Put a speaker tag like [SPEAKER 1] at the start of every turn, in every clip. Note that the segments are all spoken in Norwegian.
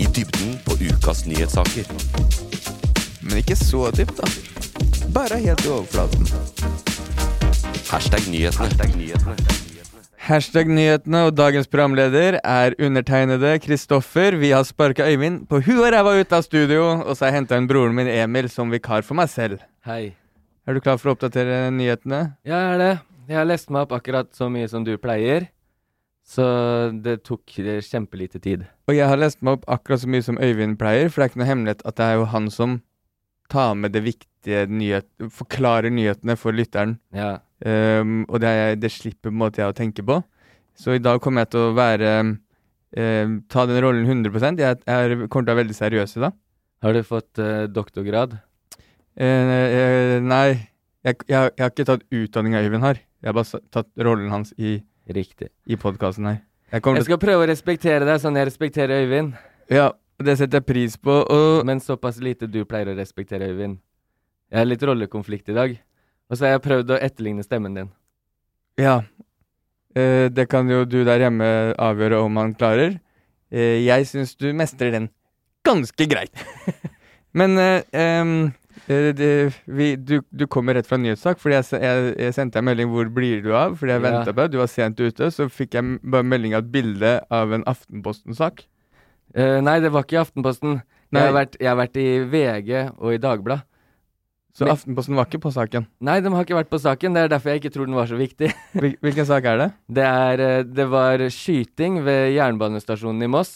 [SPEAKER 1] I dybden på ukas nyhetssaker.
[SPEAKER 2] Men ikke så dypt, da. Bare helt i overflaten.
[SPEAKER 1] Hashtag nyhetene.
[SPEAKER 2] Hashtag nyhetene og dagens programleder er undertegnede Kristoffer. Vi har sparka Øyvind på huet og ræva ut av studio, og så har jeg henta inn broren min Emil som vikar for meg selv.
[SPEAKER 3] Hei.
[SPEAKER 2] Er du klar for å oppdatere nyhetene?
[SPEAKER 3] Jeg er det. Jeg har lest meg opp akkurat så mye som du pleier. Så det tok eh, kjempelite tid.
[SPEAKER 2] Og jeg har lest meg opp akkurat så mye som Øyvind pleier, for det er ikke noe hemmelighet at det er jo han som tar med det viktige nyhet, forklarer nyhetene for lytteren.
[SPEAKER 3] Ja.
[SPEAKER 2] Ehm, og det, er, jeg- det slipper på en måte jeg å tenke på. Så i dag kommer jeg til å være ehm, Ta den rollen 100 Jeg, er, kommer til å være veldig seriøs i dag.
[SPEAKER 3] Har du fått eh, doktorgrad?
[SPEAKER 2] Eh, eh, nei, jeg, jeg, jeg har ikke tatt utdanninga Øyvind har. Jeg har bare sa- tatt rollen hans i,
[SPEAKER 3] Riktig.
[SPEAKER 2] i podkasten her. Jeg kommer
[SPEAKER 3] Jeg
[SPEAKER 2] til,
[SPEAKER 3] skal prøve å respektere deg sånn jeg respekterer Øyvind.
[SPEAKER 2] ja, og det setter jeg pris på. Og
[SPEAKER 3] Men såpass lite du pleier å respektere Øyvind. Jeg har litt rollekonflikt i dag. Og så har jeg prøvd å etterligne stemmen din.
[SPEAKER 2] Ja. Eh, det kan jo du der hjemme avgjøre om han klarer. Eh, jeg syns du mestrer den ganske greit. Men eh, em, eh, det, vi, du, du kommer rett fra nyhetssak, fordi jeg, se- jeg, jeg sendte deg en melding 'Hvor blir du av?' fordi jeg
[SPEAKER 3] Ja.
[SPEAKER 2] ventet på deg. Du var sent ute, så fikk jeg m- bare melding av et bilde av en Aftenposten-sak.
[SPEAKER 3] Eh, nei, det var ikke i Aftenposten.
[SPEAKER 2] Nei.
[SPEAKER 3] Jeg, har vært, jeg har vært i VG og i Dagbladet.
[SPEAKER 2] Så
[SPEAKER 3] Men-
[SPEAKER 2] Aftenposten var ikke på saken.
[SPEAKER 3] Nei, de har ikke vært på saken. Det er derfor jeg ikke tror den var så viktig.
[SPEAKER 2] Hvil, hvilken sak er det?
[SPEAKER 3] Det, er, eh, det var skyting ved jernbanestasjonen i Moss,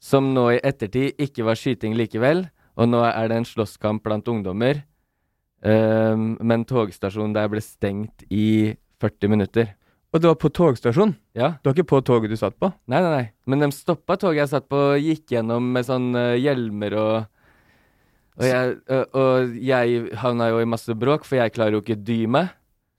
[SPEAKER 3] som nå i ettertid ikke var skyting likevel. Og nå er det en slåsskamp blant ungdommer. Ehm, men togstasjonen der ble stengt i 40 minutter.
[SPEAKER 2] Og det var på togstasjon.
[SPEAKER 3] Ja.
[SPEAKER 2] Det var ikke på toget du satt på.
[SPEAKER 3] Nei, nei, nei. Men de stoppa toget jeg satt på, og gikk gjennom med sånn eh, hjelmer og og jeg, ø- og jeg havna jo i masse bråk, for jeg klarer jo ikke dy meg.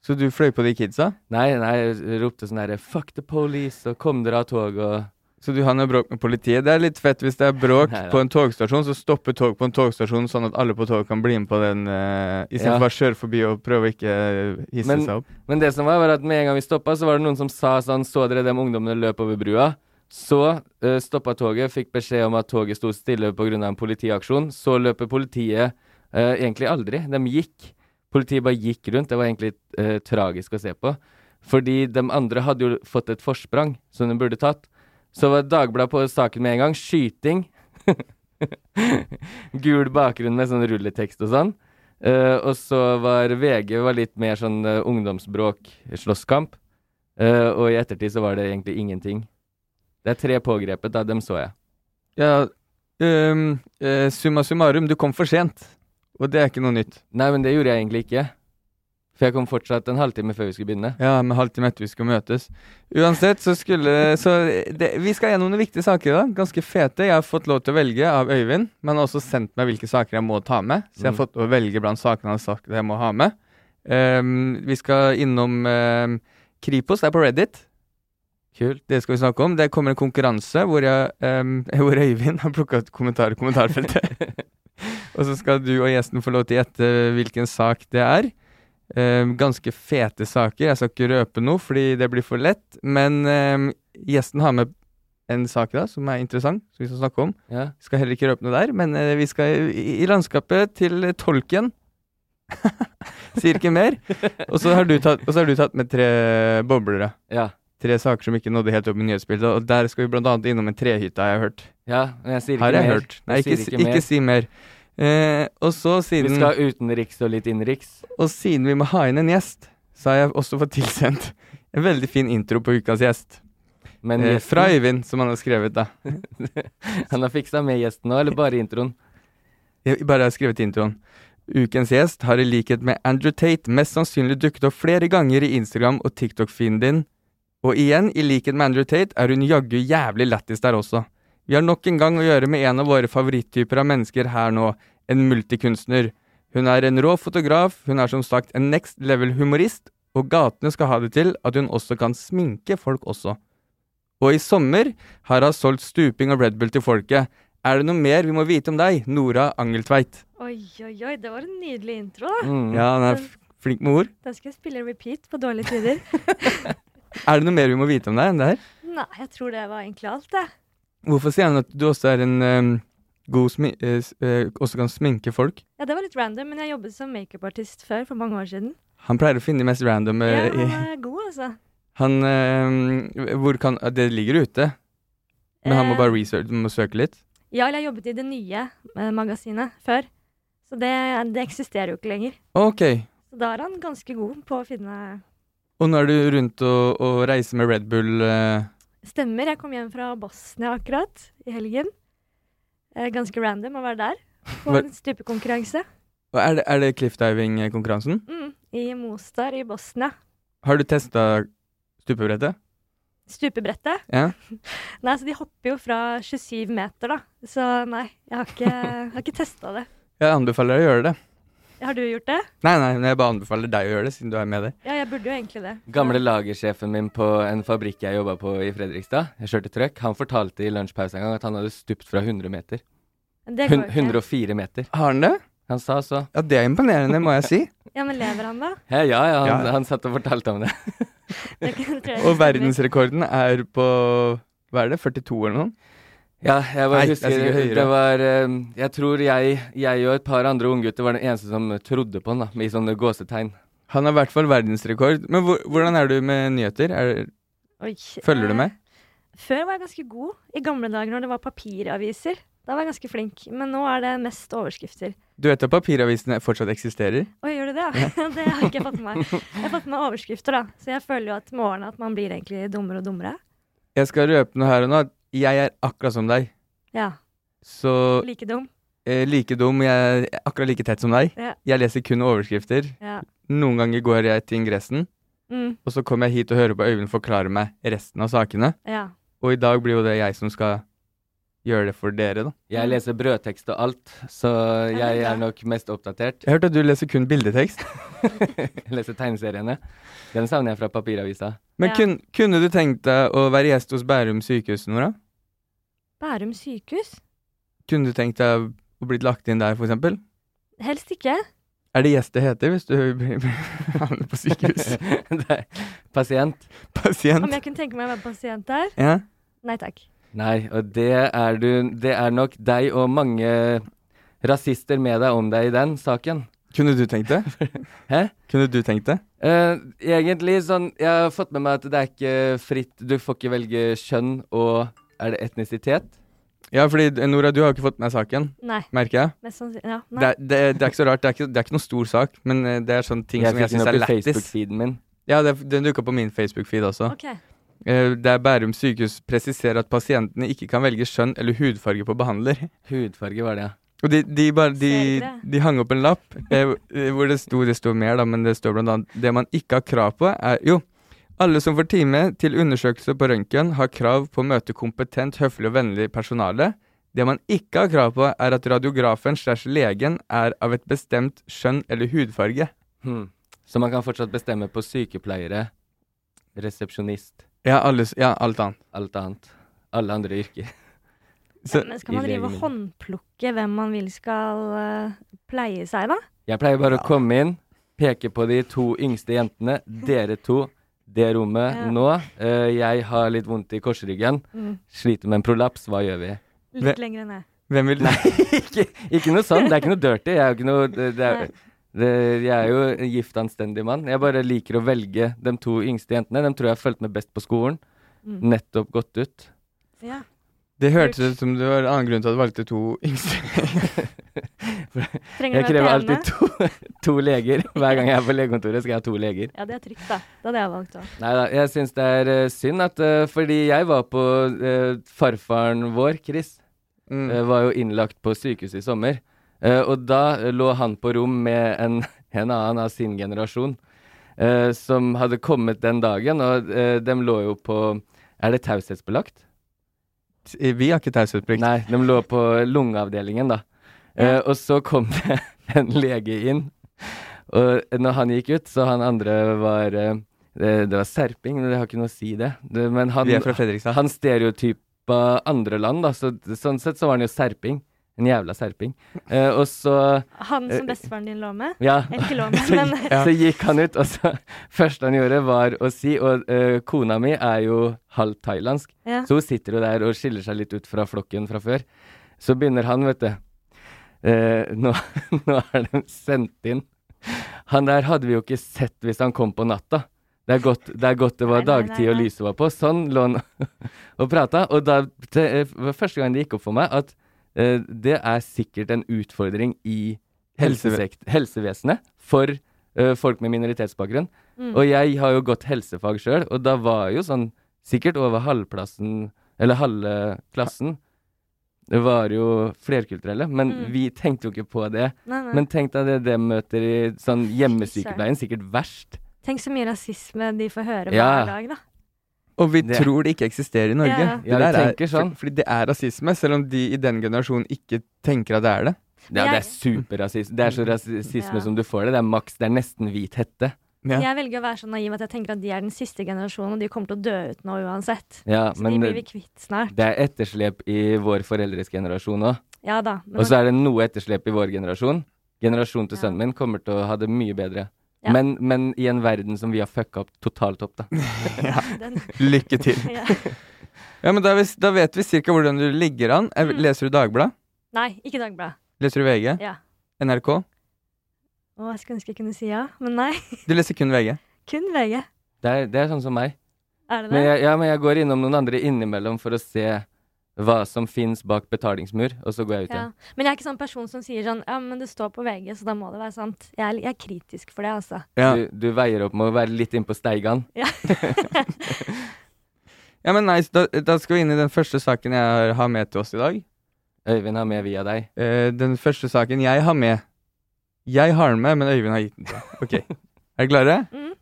[SPEAKER 2] Så du fløy på de kidsa.
[SPEAKER 3] Nei, nei, jeg ropte sånn herre 'fuck the police' og 'kom dere av toget' og
[SPEAKER 2] Så du har noe bråk med politiet. Det er litt fett hvis det er bråk
[SPEAKER 3] Neida.
[SPEAKER 2] på en togstasjon, så stopper tog på en togstasjon sånn at alle på toget kan bli med på den, uh,
[SPEAKER 3] Ja.
[SPEAKER 2] istedenfor å bare kjøre forbi og prøve å ikke eh, hisse
[SPEAKER 3] Men-
[SPEAKER 2] seg opp.
[SPEAKER 3] Men det som var, var at med en gang vi stoppa, så var det noen som sa sånn Så dere dem ungdommene løp over brua? Så uh, stoppa toget, fikk beskjed om at toget sto stille pga. en politiaksjon. Så løper politiet eh, egentlig aldri. De gikk. Politiet bare gikk rundt. Det var egentlig eh, tragisk å se på. Fordi de andre hadde jo fått et forsprang som de burde tatt. Så var Dagbladet på saken med en gang. Skyting. Gul bakgrunn med sånn rulletekst og sånn. Eh, og så var VG var litt mer sånn eh, ungdomsbråk, slåsskamp. Eh, og i ettertid så var det egentlig ingenting. Det er tre pågrepet, da. Dem så jeg.
[SPEAKER 2] Ja, ehm, eh, summa summarum, du kom for sent. Og det er ikke noe nytt.
[SPEAKER 3] Nei, men det gjorde jeg egentlig ikke. For jeg kom fortsatt en halvtime før vi skulle begynne.
[SPEAKER 2] Ja, med halvtime etter vi skal møtes. Uansett så skulle Så det, vi skal gjennom noen viktige saker i dag. Ganske fete. Jeg har fått lov til å velge av Øyvind, men han har også sendt meg hvilke saker jeg må ta med. Så jeg har
[SPEAKER 3] Mm.
[SPEAKER 2] fått å velge blant sakene han har sagt jeg må ha med. Ehm, vi skal innom ehm, Kripos, det er på Reddit.
[SPEAKER 3] Kult.
[SPEAKER 2] Det skal vi snakke om. Det kommer en konkurranse hvor, jeg, ehm, hvor Øyvind har plukka ut kommentarer i kommentarfeltet. og så skal du og gjesten få lov til å gjette hvilken sak det er. Ehm, ganske fete saker. Jeg skal ikke røpe noe, fordi det blir for lett. Men ehm, gjesten har med en sak da, som er interessant, som vi skal snakke om.
[SPEAKER 3] Ja.
[SPEAKER 2] Vi skal heller ikke røpe noe der, men eh, vi skal i, i landskapet til eh, tolken. Sier ikke mer. Og så har du tatt, og så har du tatt med tre boblere.
[SPEAKER 3] ja.
[SPEAKER 2] Tre saker som ikke nådde helt opp i nyhetsbildet, og der skal vi blant annet innom en trehytte, har jeg hørt.
[SPEAKER 3] Ja, men jeg sier ikke
[SPEAKER 2] Har jeg
[SPEAKER 3] mer.
[SPEAKER 2] hørt. Nei, ikke,
[SPEAKER 3] sier
[SPEAKER 2] si-
[SPEAKER 3] ikke
[SPEAKER 2] ikke,
[SPEAKER 3] mer.
[SPEAKER 2] si mer. Eh, og så,
[SPEAKER 3] Vi
[SPEAKER 2] siden
[SPEAKER 3] skal utenriks og litt innenriks.
[SPEAKER 2] Og siden vi må ha inn en gjest, så har jeg også fått tilsendt en veldig fin intro på ukas gjest.
[SPEAKER 3] Men
[SPEAKER 2] Eh,
[SPEAKER 3] gjesten-
[SPEAKER 2] fra Øyvind, som han har skrevet, da.
[SPEAKER 3] han har fiksa med gjesten nå, eller bare introen?
[SPEAKER 2] Jeg bare har skrevet introen. Ukens gjest har i likhet med Andrew Tate mest sannsynlig dukket opp flere ganger i Instagram og TikTok-feeden din. Og igjen, i likhet med Andrew Tate, er hun jaggu jævlig lættis der også. Vi har nok en gang å gjøre med en av våre favoritttyper av mennesker her nå, en multikunstner. Hun er en rå fotograf, hun er som sagt en next level humorist, og gatene skal ha det til at hun også kan sminke folk også. Og i sommer har hun solgt stuping og Red Bull til folket. Er det noe mer vi må vite om deg, Nora Angeltveit?
[SPEAKER 4] Oi, oi, oi, det var en nydelig intro. da.
[SPEAKER 3] Mm.
[SPEAKER 2] Ja, han er f- flink med ord.
[SPEAKER 4] Den skal jeg spille repeat på dårlige tider.
[SPEAKER 2] Er det noe mer vi må vite om deg enn det her?
[SPEAKER 4] Nei, jeg tror det var egentlig alt, jeg.
[SPEAKER 2] Hvorfor sier han at du også er en øhm, god smi... eh, s- eh, også kan sminke folk?
[SPEAKER 4] Ja, det var litt random, men jeg jobbet som makeupartist før, for mange år siden.
[SPEAKER 2] Han pleier å finne de mest random
[SPEAKER 4] Ja,
[SPEAKER 2] eh, i
[SPEAKER 4] han er god, altså.
[SPEAKER 2] Han øhm, Hvor kan eh, Det ligger ute, men han må
[SPEAKER 4] Eh,
[SPEAKER 2] bare research, må søke litt.
[SPEAKER 4] Ja, eller jeg jobbet i det nye eh, magasinet før, så det, det eksisterer jo ikke lenger.
[SPEAKER 2] Ok.
[SPEAKER 4] Så da er han ganske god på å finne
[SPEAKER 2] Og nå er du rundt og, og reiser med Red Bull eh,
[SPEAKER 4] stemmer. Jeg kom hjem fra Bosnia akkurat i helgen. Eh, ganske random å være der på
[SPEAKER 2] Hva-
[SPEAKER 4] en stupekonkurranse.
[SPEAKER 2] og Er det, er det cliffdiving-konkurransen?
[SPEAKER 4] Mm, I Mostar i Bosnia.
[SPEAKER 2] Har du testa stupebrettet?
[SPEAKER 4] Stupebrettet.
[SPEAKER 2] Ja?
[SPEAKER 4] Nei, så de hopper jo fra 27 meter, da. Så nei, jeg har ikke, jeg har ikke testa det.
[SPEAKER 2] Jeg anbefaler deg å gjøre det.
[SPEAKER 4] Har du gjort det?
[SPEAKER 2] Nei, nei, men jeg bare anbefaler deg å gjøre det, siden du er med det.
[SPEAKER 4] Ja, jeg burde jo egentlig det.
[SPEAKER 3] Gamle lagersjefen min på en fabrikk jeg jobba på i Fredrikstad, jeg kjørte trøkk, han fortalte i lunsjpausen en gang at han hadde stupt fra 100 meter.
[SPEAKER 4] Men Det går
[SPEAKER 3] Hun,
[SPEAKER 4] jo ikke.
[SPEAKER 3] 104 meter.
[SPEAKER 2] Har han det?
[SPEAKER 3] Han sa så.
[SPEAKER 2] Ja, det er imponerende, må jeg si.
[SPEAKER 4] Ja, men lever han, da?
[SPEAKER 3] Hei, ja, ja, han,
[SPEAKER 2] Ja.
[SPEAKER 3] han satt og fortalte om det.
[SPEAKER 4] Det tror jeg ikke
[SPEAKER 2] Og
[SPEAKER 4] stemmer.
[SPEAKER 2] verdensrekorden er på hva er det, 42 eller noe?
[SPEAKER 3] Ja, jeg
[SPEAKER 2] Nei, det
[SPEAKER 3] bare
[SPEAKER 2] er
[SPEAKER 3] husker
[SPEAKER 2] sikkert høyere.
[SPEAKER 3] det var eh, Jeg tror jeg, jeg og et par andre unggutter var den eneste som trodde på han, da, i sånne gåsetegn.
[SPEAKER 2] Han har i hvert fall verdensrekord. Men hvor, hvordan er du med nyheter? Er,
[SPEAKER 4] Oi,
[SPEAKER 2] følger du
[SPEAKER 4] eh,
[SPEAKER 2] med?
[SPEAKER 4] Før var jeg ganske god. I gamle dager når det var papiraviser. Da var jeg ganske flink. Men nå er det mest overskrifter.
[SPEAKER 2] Du vet at papiravisene fortsatt eksisterer?
[SPEAKER 4] Oi, gjør du det? Ja? Det har ikke jeg fått med meg. Jeg har fått med meg overskrifter, da. Så jeg føler jo at med årene at man blir egentlig dummere og dummere.
[SPEAKER 2] Jeg skal røpe noe her og nå. at Jeg er akkurat som deg.
[SPEAKER 4] Ja.
[SPEAKER 2] Så
[SPEAKER 4] Like dum.
[SPEAKER 2] eh, like dum, jeg er akkurat like tett som deg.
[SPEAKER 4] Ja.
[SPEAKER 2] Jeg leser kun overskrifter.
[SPEAKER 4] Ja.
[SPEAKER 2] Noen ganger går jeg til ingressen,
[SPEAKER 4] Mm,
[SPEAKER 2] og så kommer jeg hit og hører på Øyvind forklare meg resten av sakene.
[SPEAKER 4] ja.
[SPEAKER 2] Og i dag blir jo det jeg som skal gjøre det for dere, da.
[SPEAKER 3] Jeg leser brødtekst og alt, så jeg
[SPEAKER 4] bra.
[SPEAKER 3] er nok mest oppdatert.
[SPEAKER 2] Jeg hørte at du leser kun bildetekst.
[SPEAKER 3] Jeg leser tegneseriene. Den savner jeg fra papiravisa.
[SPEAKER 2] Men
[SPEAKER 4] Ja.
[SPEAKER 2] kun, kunne du tenkt deg å være gjest hos Bærum sykehus, Nora?
[SPEAKER 4] Bærum sykehus?
[SPEAKER 2] Kunne du tenkt deg å bli lagt inn der, for eksempel?
[SPEAKER 4] Helst ikke.
[SPEAKER 2] Er det gjest det heter hvis du havner på sykehus?
[SPEAKER 3] Det er- Pasient.
[SPEAKER 4] Om
[SPEAKER 2] Pasient?
[SPEAKER 4] jeg kunne tenke meg å være pasient der?
[SPEAKER 2] Ja.
[SPEAKER 4] Nei takk.
[SPEAKER 3] Nei, og det er du Det er nok deg og mange rasister med deg om deg i den saken.
[SPEAKER 2] Kunne du tenkt det?
[SPEAKER 3] Hæ?
[SPEAKER 2] Kunne du tenkt det?
[SPEAKER 3] Eh, egentlig sånn Jeg har fått med meg at det er ikke fritt Du får ikke velge kjønn og Er det etnisitet?
[SPEAKER 2] Ja, fordi Nora, du har jo ikke fått med saken,
[SPEAKER 4] Nei.
[SPEAKER 2] merker jeg.
[SPEAKER 4] Mest sannsynlig. Ja, nei.
[SPEAKER 2] Det, er- det, er- det er ikke så rart, det er ikke, det er ikke noen stor sak, men eh, det er sånne ting
[SPEAKER 3] Jeg
[SPEAKER 2] som jeg
[SPEAKER 3] fikk den
[SPEAKER 2] syns er
[SPEAKER 3] opp i
[SPEAKER 2] lættis.
[SPEAKER 3] Facebook-feeden min.
[SPEAKER 2] Ja, det, den dukka på min Facebook-feed også.
[SPEAKER 4] OK.
[SPEAKER 2] Eh, Der Bærum sykehus presiserer at pasientene ikke kan velge skjønn eller hudfarge på behandler.
[SPEAKER 3] Hudfarge var det, ja.
[SPEAKER 2] Og de, de, bare, de,
[SPEAKER 4] Ser dere?
[SPEAKER 2] de hang opp en lapp eh, hvor det sto det sto mer, da, men det står blant annet Det man ikke har krav på, er Jo, alle som får time til undersøkelse på røntgen, har krav på å møte kompetent, høflig og vennlig personale. Det man ikke har krav på, er at radiografen slash legen er av et bestemt skjønn eller hudfarge.
[SPEAKER 3] Hmm. Så man kan fortsatt bestemme på sykepleiere, resepsjonist,
[SPEAKER 2] Ja, alle, s- ja alt annet.
[SPEAKER 3] alt annet. Alle andre yrker.
[SPEAKER 2] Så,
[SPEAKER 4] Ja, men skal man
[SPEAKER 3] i
[SPEAKER 4] drive og
[SPEAKER 3] legemiddel.
[SPEAKER 4] håndplukke hvem man vil skal eh, pleie seg, da?
[SPEAKER 3] Jeg pleier bare å komme inn, peke på de to yngste jentene, dere to, det rommet
[SPEAKER 4] Ja.
[SPEAKER 3] nå. Eh, jeg har litt vondt i korsryggen,
[SPEAKER 4] Mm.
[SPEAKER 3] sliter med en prolaps, hva gjør vi?
[SPEAKER 4] Litt
[SPEAKER 2] Ve-
[SPEAKER 4] lenger ned.
[SPEAKER 2] hvem vil
[SPEAKER 3] Nei, ikke, ikke noe sånn, det er ikke noe dirty, jeg er jo ikke noe det, det er, Det, jeg er jo en gift, anstendig mann. Jeg bare liker å velge de to yngste jentene. De tror jeg fulgte med best på skolen.
[SPEAKER 4] Mm.
[SPEAKER 3] Nettopp gått ut.
[SPEAKER 4] Ja.
[SPEAKER 2] Det hørtes ut som det var en annen grunn til at du valgte to yngste.
[SPEAKER 3] Jeg
[SPEAKER 4] Trenger du en
[SPEAKER 3] krever
[SPEAKER 4] til
[SPEAKER 3] alltid
[SPEAKER 4] henne?
[SPEAKER 3] to, to leger. Hver gang jeg er på legekontoret, skal jeg ha to leger.
[SPEAKER 4] Ja, det er trygt, da. Det hadde jeg valgt òg.
[SPEAKER 3] Nei da, jeg syns det er eh, synd at eh, Fordi jeg var på eh, Farfaren vår, Chris,
[SPEAKER 2] Mm.
[SPEAKER 3] eh, var jo innlagt på sykehus i sommer. Eh, og da eh, lå han på rom med en, en annen av sin generasjon eh, som hadde kommet den dagen, og eh, dem lå jo på Er det taushetsbelagt?
[SPEAKER 2] Vi har ikke taushetsplikt.
[SPEAKER 3] Nei, de lå på lungeavdelingen, da. Eh, og så kom det en lege inn, og når han gikk ut, så han andre var eh, det, det var serping, men det har ikke noe å si, det. det men han,
[SPEAKER 2] Vi er fra Fredrikstad.
[SPEAKER 3] han stereotypa andre land, da, så sånn sett så var han jo serping. En jævla serping. Eh, og så
[SPEAKER 4] Han som
[SPEAKER 3] Eh,
[SPEAKER 4] bestefaren din lå med?
[SPEAKER 3] Ja.
[SPEAKER 4] Eller ikke lå med,
[SPEAKER 3] Så,
[SPEAKER 4] men
[SPEAKER 2] Ja.
[SPEAKER 3] så gikk han ut, og så første han gjorde, var å si Og eh, kona mi er jo halvt thailandsk.
[SPEAKER 4] ja.
[SPEAKER 3] Så hun sitter jo der og skiller seg litt ut fra flokken fra før. Så begynner han, vet du. Eh, nå, nå er de sendt inn. Han der hadde vi jo ikke sett hvis han kom på natta. Det er godt det, er godt det var
[SPEAKER 4] Nei, nei, nei,
[SPEAKER 3] dagtid og
[SPEAKER 4] nei.
[SPEAKER 3] lyset var på. Sånn lå han og prata. Og da det eh, var første gang det gikk opp for meg at eh, det er sikkert en utfordring i
[SPEAKER 2] Helseve-
[SPEAKER 3] helsesekt- helsevesenet for eh, folk med minoritetsbakgrunn.
[SPEAKER 4] Mm.
[SPEAKER 3] Og jeg har jo gått helsefag sjøl, og da var jo sånn sikkert over halvplassen, eller halve klassen, det var jo flerkulturelle. Men
[SPEAKER 4] Mm.
[SPEAKER 3] vi tenkte jo ikke på det.
[SPEAKER 4] Nei, nei.
[SPEAKER 3] Men tenk deg det det møter i sånn hjemmesykepleien, sikkert verst.
[SPEAKER 4] Tenk så mye rasisme de får høre
[SPEAKER 3] Ja.
[SPEAKER 4] hver dag, da.
[SPEAKER 2] Og vi
[SPEAKER 3] Det-
[SPEAKER 2] tror det ikke eksisterer i Norge.
[SPEAKER 4] Ja.
[SPEAKER 2] Det
[SPEAKER 3] Ja, vi
[SPEAKER 2] der er-
[SPEAKER 3] tenker sånn.
[SPEAKER 2] for- Fordi det er rasisme, selv om de i den generasjonen ikke tenker at det er det.
[SPEAKER 3] Ja, det
[SPEAKER 4] Jeg-
[SPEAKER 3] er superrasisme. Det er så rasisme
[SPEAKER 4] Ja.
[SPEAKER 3] som du får det. Det er maks, det er nesten hvit hette.
[SPEAKER 2] Ja.
[SPEAKER 4] Jeg velger å være så naiv at jeg tenker at de er den siste generasjonen, og de kommer til å dø ut nå uansett.
[SPEAKER 3] Ja,
[SPEAKER 4] Så
[SPEAKER 3] men eh,
[SPEAKER 4] de blir vi
[SPEAKER 3] det
[SPEAKER 4] kvitt snart.
[SPEAKER 3] det er etterslep i vår foreldres generasjon òg.
[SPEAKER 4] Ja da. men-
[SPEAKER 3] Og så er det noe etterslep i vår generasjon. Generasjonen til
[SPEAKER 4] Ja.
[SPEAKER 3] sønnen min kommer til å ha det mye bedre.
[SPEAKER 4] Ja.
[SPEAKER 3] Men, men i en verden som vi har fucka opp totalt opp, da.
[SPEAKER 4] den,
[SPEAKER 2] Lykke til.
[SPEAKER 4] ja.
[SPEAKER 2] Ja, men da, vis- da vet vi cirka hvordan du ligger an. Jeg-
[SPEAKER 4] Mm.
[SPEAKER 2] Leser du Dagbladet?
[SPEAKER 4] Nei, ikke Dagbladet.
[SPEAKER 2] Leser du VG?
[SPEAKER 4] Ja.
[SPEAKER 2] NRK?
[SPEAKER 4] Å, jeg skulle ønske jeg kunne si ja, men nei.
[SPEAKER 2] Du leser kun VG.
[SPEAKER 4] Kun VG.
[SPEAKER 3] Det er, det er sånn som meg.
[SPEAKER 4] Er det det?
[SPEAKER 3] Men jeg, ja, men jeg går innom noen andre innimellom for å se hva som fins bak betalingsmur, og så går jeg ut
[SPEAKER 4] ja.
[SPEAKER 3] igjen.
[SPEAKER 4] Men jeg er ikke sånn person som sier sånn Ja, men det står på VG, så da må det være sant. Jeg er, jeg er kritisk for det, altså.
[SPEAKER 2] Ja.
[SPEAKER 3] Du, du veier opp med å være litt innpå Steigan.
[SPEAKER 2] ja, men nice. Da, da skal vi inn i den første saken jeg har- har med til oss i dag.
[SPEAKER 3] Øyvind har med via deg.
[SPEAKER 2] Eh, den første saken jeg har med Jeg har den med, men Øyvind har gitt den til meg. Ok. Er dere klare?
[SPEAKER 4] Mm.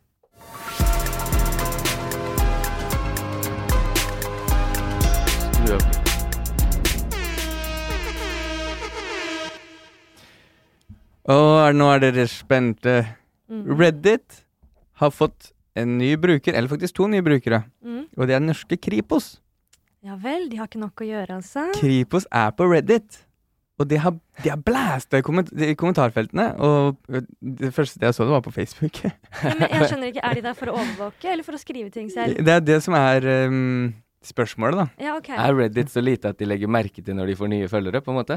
[SPEAKER 3] Skru opp.
[SPEAKER 2] Og er, nå er dere spente.
[SPEAKER 4] Mm.
[SPEAKER 2] Reddit har fått en ny bruker, eller faktisk to nye brukere.
[SPEAKER 4] Mm.
[SPEAKER 2] Og det er norske Kripos.
[SPEAKER 4] Ja vel, de har ikke nok å gjøre, altså.
[SPEAKER 2] Kripos er på Reddit. Og de har, de har blæsta i komment i kommentarfeltene. Og det første jeg så det, var på Facebook.
[SPEAKER 4] Ja, men jeg skjønner ikke, Er de der for å overvåke eller for å skrive ting selv?
[SPEAKER 2] Det er det som er ehm, spørsmålet, da.
[SPEAKER 4] Ja, OK.
[SPEAKER 3] Er Reddit så lite at de legger merke til når de får nye følgere, på en måte?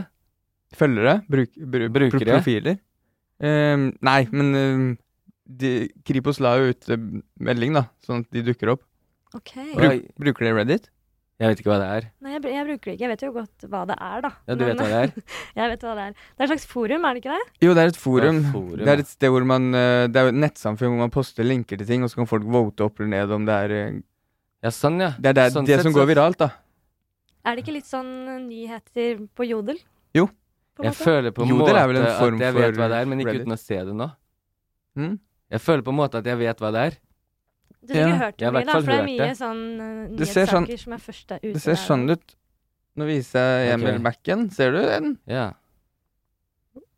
[SPEAKER 2] Følgere? Bruk, bru-
[SPEAKER 3] Brukere?
[SPEAKER 2] pro- Profiler? Ehm, nei, men ehm, de, Kripos la jo ut eh, melding, da, sånn at de dukker opp.
[SPEAKER 4] Ok.
[SPEAKER 3] Bru-
[SPEAKER 2] Bruk, bruker de Reddit?
[SPEAKER 3] Jeg vet ikke hva det er.
[SPEAKER 4] Nei, jeg, br- jeg bruker det ikke. Jeg vet jo godt hva det er, da.
[SPEAKER 3] Ja, du vet hva det er?
[SPEAKER 4] Jeg vet hva det er. Det er et slags forum, er det ikke det?
[SPEAKER 2] Jo, det er et forum.
[SPEAKER 3] Ja, forum,
[SPEAKER 2] det er
[SPEAKER 3] ja.
[SPEAKER 2] et sted hvor man eh, Det er jo et nettsamfunn hvor man poster linker til ting, og så kan folk vote opp eller ned om det er eh,
[SPEAKER 3] Ja, sånn, ja.
[SPEAKER 2] Det er det,
[SPEAKER 3] Sånn
[SPEAKER 2] det
[SPEAKER 3] sett
[SPEAKER 2] som
[SPEAKER 3] så-
[SPEAKER 2] går viralt, da.
[SPEAKER 4] Er det ikke litt sånn eh, nyheter på Jodel?
[SPEAKER 2] Jo.
[SPEAKER 4] På en
[SPEAKER 3] Jeg
[SPEAKER 4] måte?
[SPEAKER 3] føler på en
[SPEAKER 2] Jodel
[SPEAKER 3] måte
[SPEAKER 2] er vel en form
[SPEAKER 3] at jeg vet
[SPEAKER 2] for
[SPEAKER 3] hva det er, men ikke
[SPEAKER 2] Reddit.
[SPEAKER 3] uten å se det nå.
[SPEAKER 2] Mm?
[SPEAKER 3] Jeg føler på en måte at jeg vet hva det er.
[SPEAKER 4] Du har
[SPEAKER 2] Ja.
[SPEAKER 4] ikke hørt
[SPEAKER 3] Jeg har
[SPEAKER 4] det
[SPEAKER 3] i
[SPEAKER 4] mye,
[SPEAKER 3] hvert
[SPEAKER 4] da,
[SPEAKER 3] fall
[SPEAKER 4] for det er
[SPEAKER 3] hørt
[SPEAKER 4] mye
[SPEAKER 3] det.
[SPEAKER 4] sånn eh,
[SPEAKER 2] Det ser
[SPEAKER 4] nyhetssaker
[SPEAKER 2] sånn-
[SPEAKER 4] som er først ute.
[SPEAKER 2] Det ser sånn ut. Nå viser jeg Emil
[SPEAKER 3] Ok.
[SPEAKER 2] Mac-en. Ser du den?
[SPEAKER 3] Ja.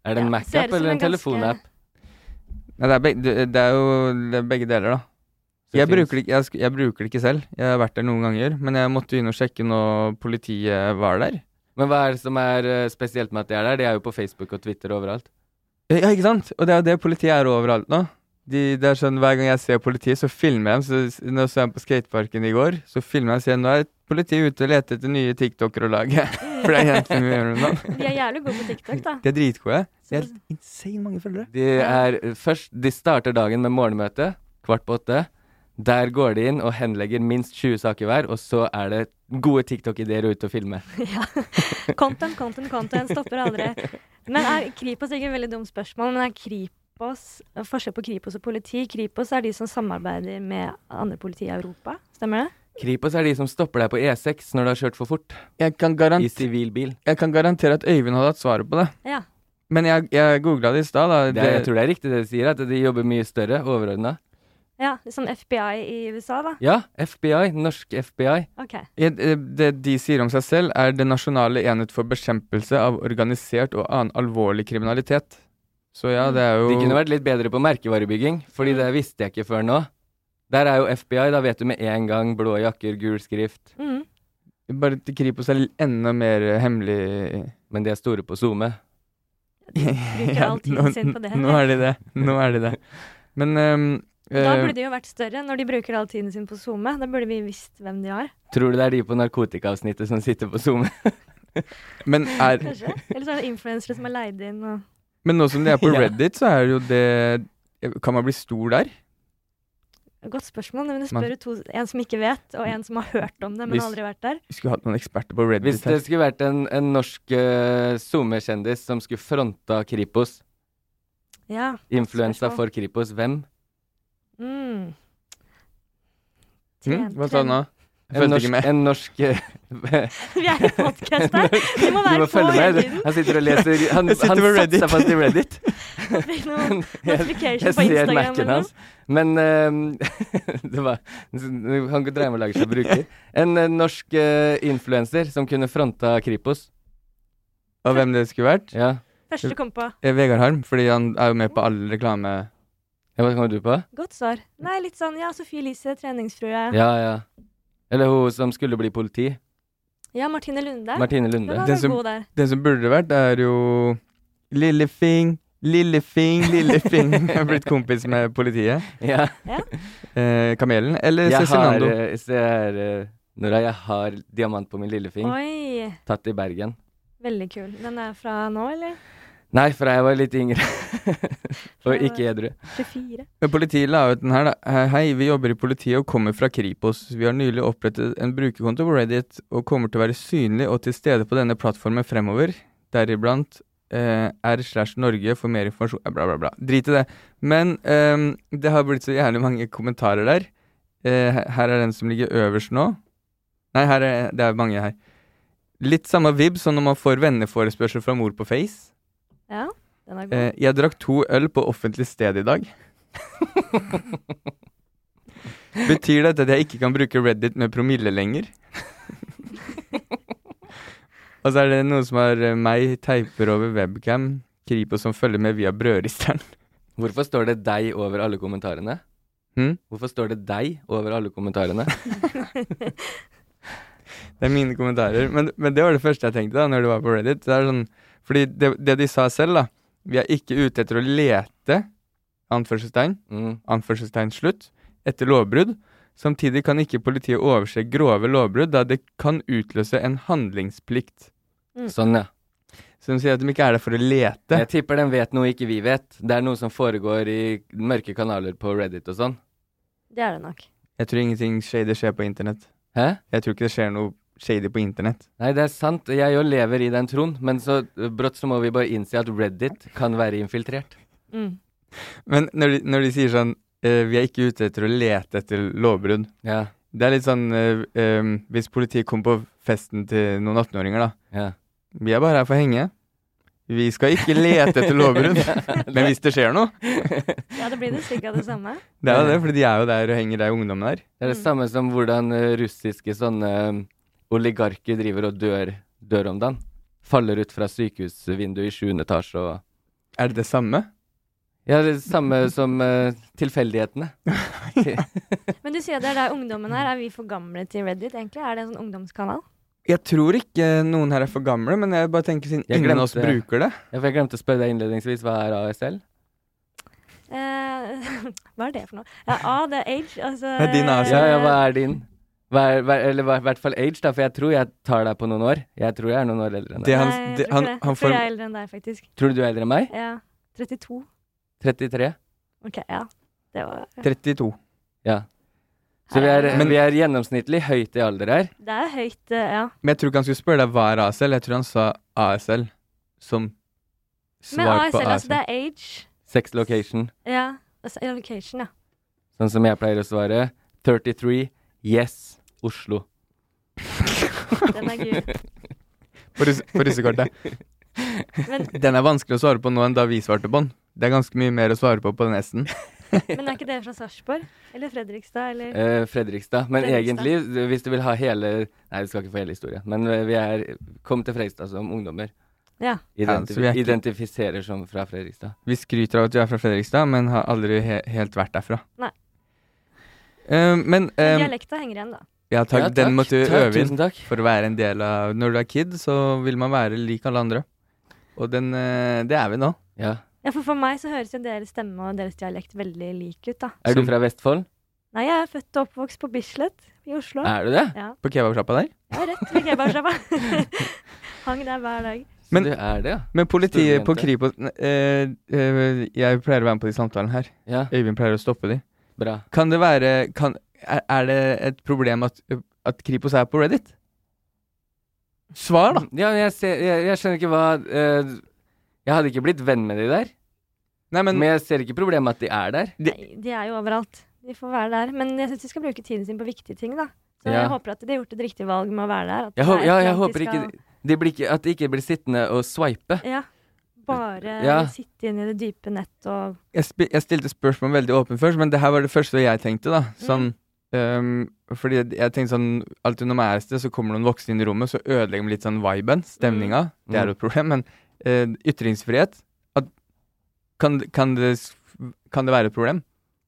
[SPEAKER 3] Er det en
[SPEAKER 4] Ja, ser ut
[SPEAKER 3] Mac-app
[SPEAKER 4] som
[SPEAKER 3] eller
[SPEAKER 4] en
[SPEAKER 3] en telefonapp?
[SPEAKER 2] Nei, det, er beg- det- det er jo det er begge deler, da.
[SPEAKER 3] Så
[SPEAKER 2] Jeg
[SPEAKER 3] det
[SPEAKER 2] bruker,
[SPEAKER 3] finnes-
[SPEAKER 2] det ikke, jeg, sk- jeg bruker det ikke selv. Jeg har vært der noen ganger, men jeg måtte inn og sjekke når politiet var eh, der.
[SPEAKER 3] Men hva er det som er eh, spesielt med at de er der? De er jo på Facebook og Twitter overalt.
[SPEAKER 2] Ja, ikke sant? Og det er jo det politiet er overalt nå. De, det er sånn, Hver gang jeg ser politiet, så filmer jeg dem. Så, s- nå så jeg dem på skateparken i går. Så filmer jeg og sier nå er Politiet er ute og leter etter nye TikTokere å lage. For det er jentene vi gjør nå.
[SPEAKER 4] De er jævlig gode på TikTok, da.
[SPEAKER 2] De er dritgode. De har helt insane mange følgere.
[SPEAKER 3] De er eh, først De starter dagen med morgenmøte kvart på åtte. Der går de inn og henlegger minst 20 saker hver, og så er det gode TikTok-ideer ute å filme.
[SPEAKER 4] Content, content, content stopper aldri. Men er Kripos ikke et veldig dumt spørsmål, men er Kripos forskjell på Kripos og politi? Kripos er de som samarbeider med andre politi i Europa, stemmer det?
[SPEAKER 3] Kripos er de som stopper deg på E6 når du har kjørt for fort
[SPEAKER 2] Jeg kan,
[SPEAKER 3] i
[SPEAKER 2] garant-
[SPEAKER 3] sivil bil.
[SPEAKER 2] jeg kan garantere at Øyvind hadde hatt svaret på det.
[SPEAKER 4] Ja.
[SPEAKER 2] Men jeg, jeg googla det i stad. da.
[SPEAKER 3] Det, jeg tror det er riktig det de sier, at de jobber mye større, overordna.
[SPEAKER 4] ja som FBI i USA, da.
[SPEAKER 3] Ja, FBI. Norsk FBI.
[SPEAKER 4] OK.
[SPEAKER 2] Jeg- eh, Det de sier om seg selv, er Den nasjonale enhet for bekjempelse av organisert og annen alvorlig kriminalitet. Så ja, det er jo
[SPEAKER 3] De kunne vært litt bedre på merkevarebygging, fordi det visste jeg ikke før nå. Der er jo FBI, da vet du med en gang blå jakker, gul skrift.
[SPEAKER 4] Mm.
[SPEAKER 2] Bare til Kripos er enda mer eh, hemmelig
[SPEAKER 3] Men de er store på SoMe.
[SPEAKER 4] bruker all tiden
[SPEAKER 2] nå,
[SPEAKER 4] sin på det.
[SPEAKER 2] Nå er de det. Nå er de det. Men ehm,
[SPEAKER 4] Da
[SPEAKER 2] eh,
[SPEAKER 4] burde de jo vært større, når de bruker all tiden sin på SoMe. Da burde vi visst hvem de er,
[SPEAKER 3] Tror du det er de på narkotikaavsnittet som sitter på SoMe?
[SPEAKER 2] eh, men, er,
[SPEAKER 4] kanskje? Eller så er det influensere som er leid inn og
[SPEAKER 2] men nå som de er på
[SPEAKER 3] Ja.
[SPEAKER 2] Reddit, så er det jo det Kan man bli stor der?
[SPEAKER 4] Godt spørsmål. Men du
[SPEAKER 2] Man-
[SPEAKER 4] spør jo to, en som ikke vet, og en som har hørt om det, men
[SPEAKER 2] Hvis-
[SPEAKER 4] aldri vært der.
[SPEAKER 2] Vi skulle hatt noen eksperter på Reddit.
[SPEAKER 3] Hvis
[SPEAKER 2] her.
[SPEAKER 3] det skulle vært en, en norsk eh, SoMe-kjendis som skulle fronta Kripos,
[SPEAKER 4] Ja.
[SPEAKER 3] influensa
[SPEAKER 4] Spørsmål.
[SPEAKER 3] for Kripos, hvem?
[SPEAKER 4] Mm.
[SPEAKER 2] Hm? Hva sa du nå? Jeg
[SPEAKER 3] En
[SPEAKER 2] følte ikke
[SPEAKER 3] norsk,
[SPEAKER 2] med.
[SPEAKER 3] en norsk eh,
[SPEAKER 4] Vi er i podkast her. Vi må
[SPEAKER 3] Du
[SPEAKER 4] være
[SPEAKER 3] må
[SPEAKER 4] på
[SPEAKER 3] følge
[SPEAKER 4] hele
[SPEAKER 3] med.
[SPEAKER 4] tiden.
[SPEAKER 3] Han sitter og leser Han,
[SPEAKER 2] Jeg sitter
[SPEAKER 3] han
[SPEAKER 2] på
[SPEAKER 3] satte
[SPEAKER 2] Reddit.
[SPEAKER 3] seg fast i Reddit.
[SPEAKER 4] Fikk noen
[SPEAKER 3] Jeg, jeg
[SPEAKER 4] notification på
[SPEAKER 3] ser
[SPEAKER 4] Instagram. eller
[SPEAKER 3] Mac-en
[SPEAKER 4] noe.
[SPEAKER 3] hans. Men eh, det var Han dreier med å lage seg bruker. En eh, norsk uh, influenser som kunne fronta Kripos.
[SPEAKER 2] Og hvem det skulle vært?
[SPEAKER 3] Ja.
[SPEAKER 4] Første du kom på.
[SPEAKER 2] Eh, Vegard Harm, fordi han er jo med på all reklame.
[SPEAKER 3] ja. Hva kommer du på?
[SPEAKER 4] Godt svar. Nei, litt sånn ja, Sofie Elise, treningsfrue. Ja,
[SPEAKER 3] Ja, ja. Eller hun som skulle bli politi.
[SPEAKER 4] Martine Lunde.
[SPEAKER 3] Martine
[SPEAKER 4] Hun
[SPEAKER 3] Lunde.
[SPEAKER 4] var
[SPEAKER 2] Den
[SPEAKER 4] vel
[SPEAKER 2] som-
[SPEAKER 4] god der.
[SPEAKER 2] Det som burde det vært, er jo Lillefing, Lillefing, Lillefing. Jeg har blitt kompis med politiet.
[SPEAKER 3] Ja.
[SPEAKER 2] Eh, kamelen. Eller
[SPEAKER 3] Jeg har,
[SPEAKER 2] Cezinando.
[SPEAKER 3] eh, se her, eh, Nora, jeg har diamant på min lillefing,
[SPEAKER 4] Oi.
[SPEAKER 3] tatt i Bergen.
[SPEAKER 4] Veldig kul. Den er fra nå, eller?
[SPEAKER 3] Nei, fra jeg var litt yngre.
[SPEAKER 4] Fra-
[SPEAKER 3] og ikke edru.
[SPEAKER 4] 24.
[SPEAKER 2] Men Politiet la ut den her, da. Hei, Hei, vi jobber i politiet og kommer fra Kripos. Vi har nylig opprettet en brukerkonto på Reddit og kommer til å være synlig og til stede på denne plattformen fremover. Deriblant eh, r/norge for mer informasjon eh, Bla, bla, bla. Drit i det. Men ehm, det har blitt så jævlig mange kommentarer der. Eh, her er den som ligger øverst nå. Nei, her er, det er mange her. Litt samme vibb som når man får venneforespørsel fra mor på Face.
[SPEAKER 4] Ja, den er god.
[SPEAKER 2] Eh, jeg drakk to øl på offentlig sted i dag. Betyr dette at jeg ikke kan bruke Reddit med promille lenger? Og så er det noen som har eh, meg teiper over webcam, Kripos som følger med via brødristeren.
[SPEAKER 3] Hvorfor står det deg over alle kommentarene?
[SPEAKER 2] Hm?
[SPEAKER 3] Hvorfor står det deg over alle kommentarene?
[SPEAKER 2] Det er mine kommentarer. Men, men det var det første jeg tenkte da når det var på Reddit. Det er sånn, fordi det, det de sa selv, da Vi er ikke ute etter å lete, anførselstegn,
[SPEAKER 3] Mm.
[SPEAKER 2] anførselstegn slutt, etter lovbrudd. Samtidig kan ikke politiet overse grove lovbrudd, da det kan utløse en handlingsplikt.
[SPEAKER 3] Sånn, ja.
[SPEAKER 2] Så de sier at de ikke er der for å lete.
[SPEAKER 3] Jeg tipper den vet noe ikke vi vet. Det er noe som foregår i mørke kanaler på Reddit og sånn.
[SPEAKER 4] Det er det nok.
[SPEAKER 2] Jeg tror ingenting shady skjer på internett.
[SPEAKER 3] Hæ?
[SPEAKER 2] Jeg tror ikke det skjer noe shady på internett.
[SPEAKER 3] Nei, det er sant. Jeg jo lever i den troen. Men så eh, brått så må vi bare innse at Reddit kan være infiltrert.
[SPEAKER 4] Mm.
[SPEAKER 2] Men når de, når de sier sånn eh, Vi er ikke ute etter å lete etter lovbrudd.
[SPEAKER 3] Ja.
[SPEAKER 2] Det er litt sånn eh, eh, Hvis politiet kommer på festen til noen 18-åringer, da.
[SPEAKER 3] ja.
[SPEAKER 2] Vi er bare her for å henge. Vi skal ikke lete etter lovbrudd. Men hvis det skjer noe
[SPEAKER 4] Ja, det blir det sikkert det samme.
[SPEAKER 2] Det er jo det, fordi de er jo der og henger, de ungdommene der.
[SPEAKER 3] Det er det
[SPEAKER 4] Mm.
[SPEAKER 3] samme som hvordan eh, russiske sånne eh, oligarker driver og dør, dør om dagen. Faller ut fra sykehusvinduet i sjuende etasje og
[SPEAKER 2] Er det det samme?
[SPEAKER 3] Ja, det er samme som eh, tilfeldighetene.
[SPEAKER 4] Men du sier det er der ungdommen er. Er vi for gamle til Reddit, egentlig? Er det en sånn ungdomskanal?
[SPEAKER 2] Jeg tror ikke noen her er for gamle, men jeg bare tenker siden
[SPEAKER 3] Jeg
[SPEAKER 2] ingen av oss
[SPEAKER 3] glemte-
[SPEAKER 2] bruker det.
[SPEAKER 3] Ja, for jeg glemte å spørre deg innledningsvis, hva er ASL?
[SPEAKER 4] Eh, hva er det for noe? Ja, A, det er age. Altså
[SPEAKER 2] Det er din ASL.
[SPEAKER 3] Ja, ja, hva er din? Hver, hver, eller hver- hvert fall age, da, for jeg tror jeg tar deg på noen år. Jeg tror jeg er noen år eldre enn deg.
[SPEAKER 2] Det han,
[SPEAKER 4] Nei,
[SPEAKER 2] det,
[SPEAKER 4] jeg tror
[SPEAKER 2] han, han
[SPEAKER 4] ikke det. Jeg tror
[SPEAKER 2] får,
[SPEAKER 4] jeg er eldre enn deg, faktisk.
[SPEAKER 3] Tror du du er eldre enn meg?
[SPEAKER 4] Ja. 32.
[SPEAKER 3] 33?
[SPEAKER 4] Ok, ja. Det var
[SPEAKER 2] 32.
[SPEAKER 3] Ja. Så vi er,
[SPEAKER 2] Men-
[SPEAKER 3] vi er gjennomsnittlig høyt i alder her.
[SPEAKER 4] Det er høyt, eh, ja.
[SPEAKER 2] Men jeg tror ikke han skulle spørre deg hva er ASL. Jeg tror han sa ASL som
[SPEAKER 4] Men
[SPEAKER 2] svar på
[SPEAKER 4] ASL, altså
[SPEAKER 2] ASL.
[SPEAKER 4] det er age.
[SPEAKER 3] Sex location,
[SPEAKER 4] Ja. Altså, allocation, ja.
[SPEAKER 3] sånn som jeg pleier å svare. 33, yes, Oslo.
[SPEAKER 4] Den er gul.
[SPEAKER 2] På, russ, på russekortet.
[SPEAKER 4] Men,
[SPEAKER 2] Den er vanskelig å svare på nå enn da vi svarte på den. Det er ganske mye mer å svare på på den S-en.
[SPEAKER 4] men er ikke det fra Sarpsborg? Eller Fredrikstad, eller
[SPEAKER 3] Eh, Fredrikstad. Men
[SPEAKER 4] Fredrikstad.
[SPEAKER 3] egentlig, hvis du vil ha hele Nei, du skal ikke få hele historien, men eh, vi er Kom til Fredrikstad som ungdommer.
[SPEAKER 4] Ja.
[SPEAKER 2] Ja, så vi er
[SPEAKER 3] Identif
[SPEAKER 2] ikke-
[SPEAKER 3] identifiserer som fra Fredrikstad.
[SPEAKER 2] Vi skryter av at du er fra Fredrikstad, men har aldri he helt vært derfra.
[SPEAKER 4] Nei.
[SPEAKER 2] Eh, men
[SPEAKER 4] Men
[SPEAKER 2] eh,
[SPEAKER 4] Dialekta henger igjen, da.
[SPEAKER 2] ja, takk,
[SPEAKER 3] Ja,
[SPEAKER 2] den måtte du
[SPEAKER 3] Takk,
[SPEAKER 2] øve inn.
[SPEAKER 3] Tusen takk.
[SPEAKER 2] For å være en del av Når du er kid, så vil man være lik alle andre. Og den, eh, det er vi nå.
[SPEAKER 3] Ja.
[SPEAKER 4] Ja, for for meg så høres jo deres stemme og deres dialekt veldig lik ut, da.
[SPEAKER 3] Er
[SPEAKER 2] Som-
[SPEAKER 3] du fra Vestfold?
[SPEAKER 4] Nei, jeg er født og oppvokst på Bislett i Oslo.
[SPEAKER 3] Er du det?
[SPEAKER 4] Ja,
[SPEAKER 2] På kebabsjappa der.
[SPEAKER 4] jeg er rett ved kebabsjappa. Hang der hver dag.
[SPEAKER 3] Så
[SPEAKER 2] Men-
[SPEAKER 3] du er det, ja.
[SPEAKER 2] Men politiet
[SPEAKER 3] Storjente.
[SPEAKER 2] på Kripos eh, eh, Jeg pleier å være med på de samtalene her.
[SPEAKER 3] Ja,
[SPEAKER 2] Øyvind pleier å stoppe de.
[SPEAKER 3] bra.
[SPEAKER 2] Kan det være kan, er, er det et problem at, at Kripos er på Reddit? Svar, da!
[SPEAKER 3] Ja, men jeg, ser, jeg, jeg skjønner ikke hva eh, Jeg hadde ikke blitt venn med de der,
[SPEAKER 2] Nei, men,
[SPEAKER 3] men jeg ser ikke problemet med at de er der.
[SPEAKER 2] Det-
[SPEAKER 4] Nei, de er jo overalt. De får være der. Men jeg syns de skal bruke tiden sin på viktige ting, da. Så
[SPEAKER 3] Ja.
[SPEAKER 4] jeg håper at de har gjort et riktig valg med å være der. At
[SPEAKER 3] Jeg, hå-
[SPEAKER 4] det er
[SPEAKER 3] ja,
[SPEAKER 4] et
[SPEAKER 3] jeg
[SPEAKER 4] land de
[SPEAKER 3] håper ikke,
[SPEAKER 4] skal-
[SPEAKER 3] de blir ikke At de ikke blir sittende og swipe.
[SPEAKER 4] Ja. Bare
[SPEAKER 3] Ja.
[SPEAKER 4] sitte inn i det dype nett og
[SPEAKER 2] jeg, spi- jeg stilte spørsmål veldig åpent først, men det her var det første jeg tenkte, da.
[SPEAKER 3] Mm.
[SPEAKER 2] Sånn, ehm, fordi jeg tenkte sånn Alltid når man er et sted, så kommer noen voksne inn i rommet, så ødelegger de litt sånn viben, stemninga.
[SPEAKER 3] Mm.
[SPEAKER 2] Det er jo et problem, men eh, ytringsfrihet at, kan, kan, det, s- kan det være et problem?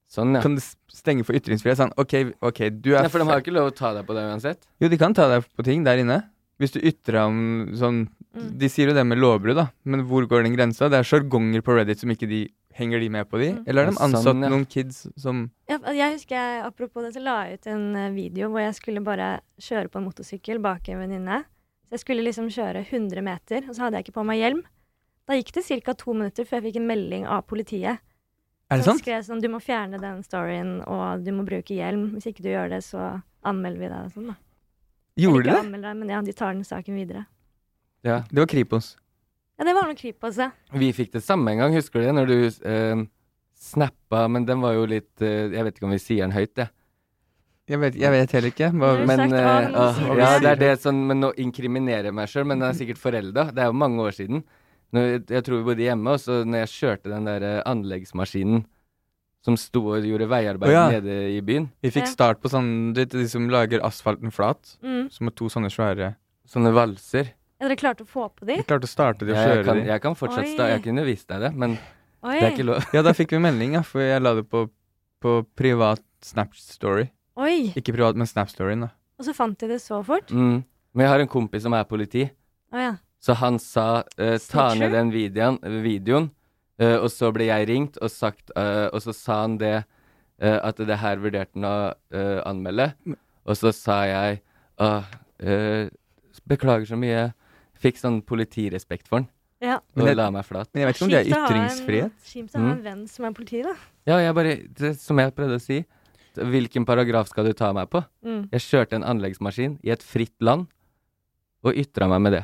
[SPEAKER 3] Sånn, ja.
[SPEAKER 2] Kan det s- stenge for ytringsfrihet? Sånn, OK, ok, du er
[SPEAKER 3] Nei, for de har
[SPEAKER 2] fe-
[SPEAKER 3] ikke lov å ta deg på det uansett.
[SPEAKER 2] Jo, de kan ta deg på ting der inne. Hvis du ytrer om sånn
[SPEAKER 4] Mm.
[SPEAKER 2] De sier jo det med lovbrudd, da, men hvor går den grensa? Det er sjargonger på Reddit som ikke de Henger de med på de?
[SPEAKER 4] Mm.
[SPEAKER 2] Eller har
[SPEAKER 3] Ja,
[SPEAKER 2] de ansatt
[SPEAKER 3] sånn, ja.
[SPEAKER 2] noen kids som
[SPEAKER 4] ja, for Jeg husker jeg, apropos det, så la jeg ut en eh, video hvor jeg skulle bare kjøre på en motorsykkel bak en venninne. Så jeg skulle liksom kjøre 100 meter, og så hadde jeg ikke på meg hjelm. Da gikk det ca. to minutter før jeg fikk en melding av politiet.
[SPEAKER 2] Er det
[SPEAKER 4] som
[SPEAKER 2] sant?
[SPEAKER 4] skrev sånn Du må fjerne den storyen, og du må bruke hjelm. Hvis ikke du gjør det, så anmelder vi deg og sånn, da. Eller
[SPEAKER 2] Gjorde de
[SPEAKER 4] ikke
[SPEAKER 2] det?
[SPEAKER 4] anmelder deg, men ja, de tar den saken videre.
[SPEAKER 3] Ja.
[SPEAKER 2] Det var Kripos.
[SPEAKER 4] Ja, det var noe Kripos, ja.
[SPEAKER 3] Vi fikk det samme en gang, husker du det? Når du eh, snappa, men den var jo litt eh, Jeg vet ikke om vi sier den høyt, jeg.
[SPEAKER 2] Jeg vet, jeg vet heller ikke. Hva,
[SPEAKER 4] Har du
[SPEAKER 3] Men
[SPEAKER 4] sagt,
[SPEAKER 3] eh,
[SPEAKER 4] ah, men du
[SPEAKER 3] ah,
[SPEAKER 4] sier
[SPEAKER 3] Ja,
[SPEAKER 2] det.
[SPEAKER 3] det er det sånn Men nå inkriminerer jeg meg sjøl, men det er sikkert forelda. Det er jo mange år siden. Når, jeg- jeg tror vi bodde hjemme, og så når jeg kjørte den der eh, anleggsmaskinen som sto og gjorde veiarbeid
[SPEAKER 2] Å, ja.
[SPEAKER 3] nede i byen
[SPEAKER 2] vi fikk
[SPEAKER 4] Ja.
[SPEAKER 2] start på sånn Du vet de som lager asfalten flat?
[SPEAKER 4] Mm.
[SPEAKER 2] Som har to sånne svære
[SPEAKER 3] Sånne valser.
[SPEAKER 4] Ja, dere klarte å få på de?
[SPEAKER 2] Vi klarte å starte de og
[SPEAKER 3] Jeg, jeg,
[SPEAKER 2] kjøre
[SPEAKER 3] kan,
[SPEAKER 2] de.
[SPEAKER 3] jeg kan fortsatt
[SPEAKER 4] Oi.
[SPEAKER 3] sta Jeg kunne vist deg det, men
[SPEAKER 4] Oi.
[SPEAKER 3] det er ikke lov.
[SPEAKER 2] Ja, da fikk vi melding, ja, for jeg la det på, på privat Snap-story.
[SPEAKER 4] Oi.
[SPEAKER 2] Ikke privat, men Snap-storyen, da.
[SPEAKER 4] Og så fant de det så fort?
[SPEAKER 3] Mm. Men jeg har en kompis som er politi,
[SPEAKER 4] Å ja.
[SPEAKER 3] så han sa eh, ta
[SPEAKER 4] Snitcher?
[SPEAKER 3] ned den videoen, videoen eh, og så ble jeg ringt og sagt eh, Og så sa han det eh, at det her vurderte han å eh, anmelde, og så sa jeg «Åh, eh, beklager så mye. Fikk sånn politirespekt for han,
[SPEAKER 4] ja.
[SPEAKER 2] Men
[SPEAKER 3] og
[SPEAKER 2] det-
[SPEAKER 3] la meg flat.
[SPEAKER 2] Men jeg vet ikke om det er
[SPEAKER 4] Kjipt å ha en-
[SPEAKER 2] ytringsfrihet.
[SPEAKER 4] Kjipt å ha
[SPEAKER 3] Mm.
[SPEAKER 4] en venn som er politi, da.
[SPEAKER 3] Ja, jeg bare det, Som jeg prøvde å si, hvilken paragraf skal du ta meg på?
[SPEAKER 4] Mm.
[SPEAKER 3] Jeg kjørte en anleggsmaskin i et fritt land, og ytra meg med det.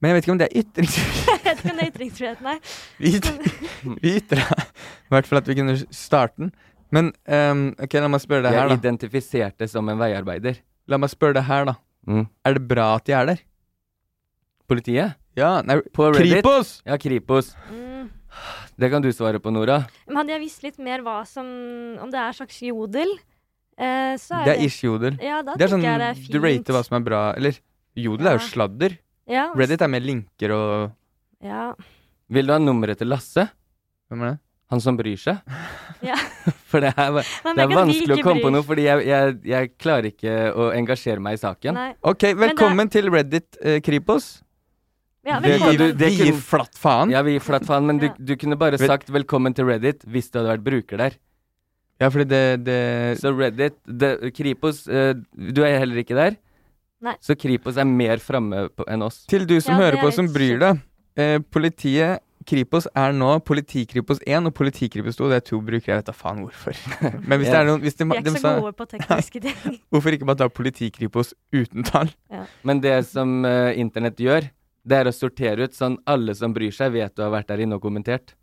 [SPEAKER 2] Men jeg vet ikke om det er ytringsfrihet.
[SPEAKER 4] Jeg vet ikke om det er ytringsfrihet, nei.
[SPEAKER 2] Vi yt- vi ytra i hvert fall at vi kunne starte den. Men ehm, ok, la meg spørre deg
[SPEAKER 3] Jeg
[SPEAKER 2] her, da.
[SPEAKER 3] identifiserte som en veiarbeider.
[SPEAKER 2] La meg spørre deg her, da.
[SPEAKER 3] Mm.
[SPEAKER 2] Er det bra at de er der?
[SPEAKER 3] Politiet?
[SPEAKER 2] Ja, nei
[SPEAKER 3] På Reddit?
[SPEAKER 2] Kripos!
[SPEAKER 3] Ja, Kripos.
[SPEAKER 4] Mm.
[SPEAKER 3] Det kan du svare på, Nora.
[SPEAKER 4] Men hadde jeg visst litt mer hva som Om det er en slags jodel, eh, så er
[SPEAKER 2] Det er ish-jodel.
[SPEAKER 4] Ja, da
[SPEAKER 2] Det er
[SPEAKER 4] tenker
[SPEAKER 2] sånn,
[SPEAKER 4] jeg det er fint.
[SPEAKER 2] du rater hva som er bra, eller Jodel er jo
[SPEAKER 4] Ja.
[SPEAKER 2] sladder.
[SPEAKER 4] ja, og s-
[SPEAKER 2] Reddit er med linker og
[SPEAKER 4] Ja.
[SPEAKER 3] Vil du ha nummeret til Lasse?
[SPEAKER 2] Hvem er det?
[SPEAKER 3] Han som bryr seg?
[SPEAKER 4] Ja.
[SPEAKER 3] For det er,
[SPEAKER 4] Man
[SPEAKER 3] det er
[SPEAKER 4] merker at vi
[SPEAKER 3] vanskelig å
[SPEAKER 4] ikke
[SPEAKER 3] komme på
[SPEAKER 4] bryr-
[SPEAKER 3] noe, fordi jeg, jeg, jeg klarer ikke å engasjere meg i saken.
[SPEAKER 4] Nei.
[SPEAKER 2] Ok,
[SPEAKER 4] det er-
[SPEAKER 2] velkommen til Reddit eh, Kripos.
[SPEAKER 4] Ja,
[SPEAKER 3] Det-
[SPEAKER 4] velkommen.
[SPEAKER 3] du- det
[SPEAKER 2] Vi gir
[SPEAKER 3] kunne-
[SPEAKER 2] flatt faen.
[SPEAKER 3] Ja, vi gir flatt faen, men du,
[SPEAKER 4] Ja.
[SPEAKER 3] du kunne bare
[SPEAKER 2] Vel-
[SPEAKER 3] sagt 'velkommen til Reddit' hvis du hadde vært bruker der.
[SPEAKER 2] Ja, fordi det, det
[SPEAKER 3] Så Reddit det, Kripos eh, Du er heller ikke der?
[SPEAKER 4] Nei.
[SPEAKER 3] Så Kripos er mer framme enn oss.
[SPEAKER 2] Til du som
[SPEAKER 4] Ja,
[SPEAKER 2] hører
[SPEAKER 4] det
[SPEAKER 2] på
[SPEAKER 4] er
[SPEAKER 2] som
[SPEAKER 4] litt
[SPEAKER 2] bryr deg. Eh, politiet Kripos er nå Politikripos 1 og Politikripos 2. Det er to brukere. Jeg vet da faen hvorfor. Men hvis det er noen hvis de,
[SPEAKER 4] Vi er
[SPEAKER 2] de
[SPEAKER 4] ikke så
[SPEAKER 2] sa,
[SPEAKER 4] gode på tekniske ting.
[SPEAKER 2] Hvorfor ikke bare ta Politikripos uten tall?
[SPEAKER 3] Men det som eh, internett gjør, det er å sortere ut sånn alle som bryr seg, vet du har vært der inne og kommentert.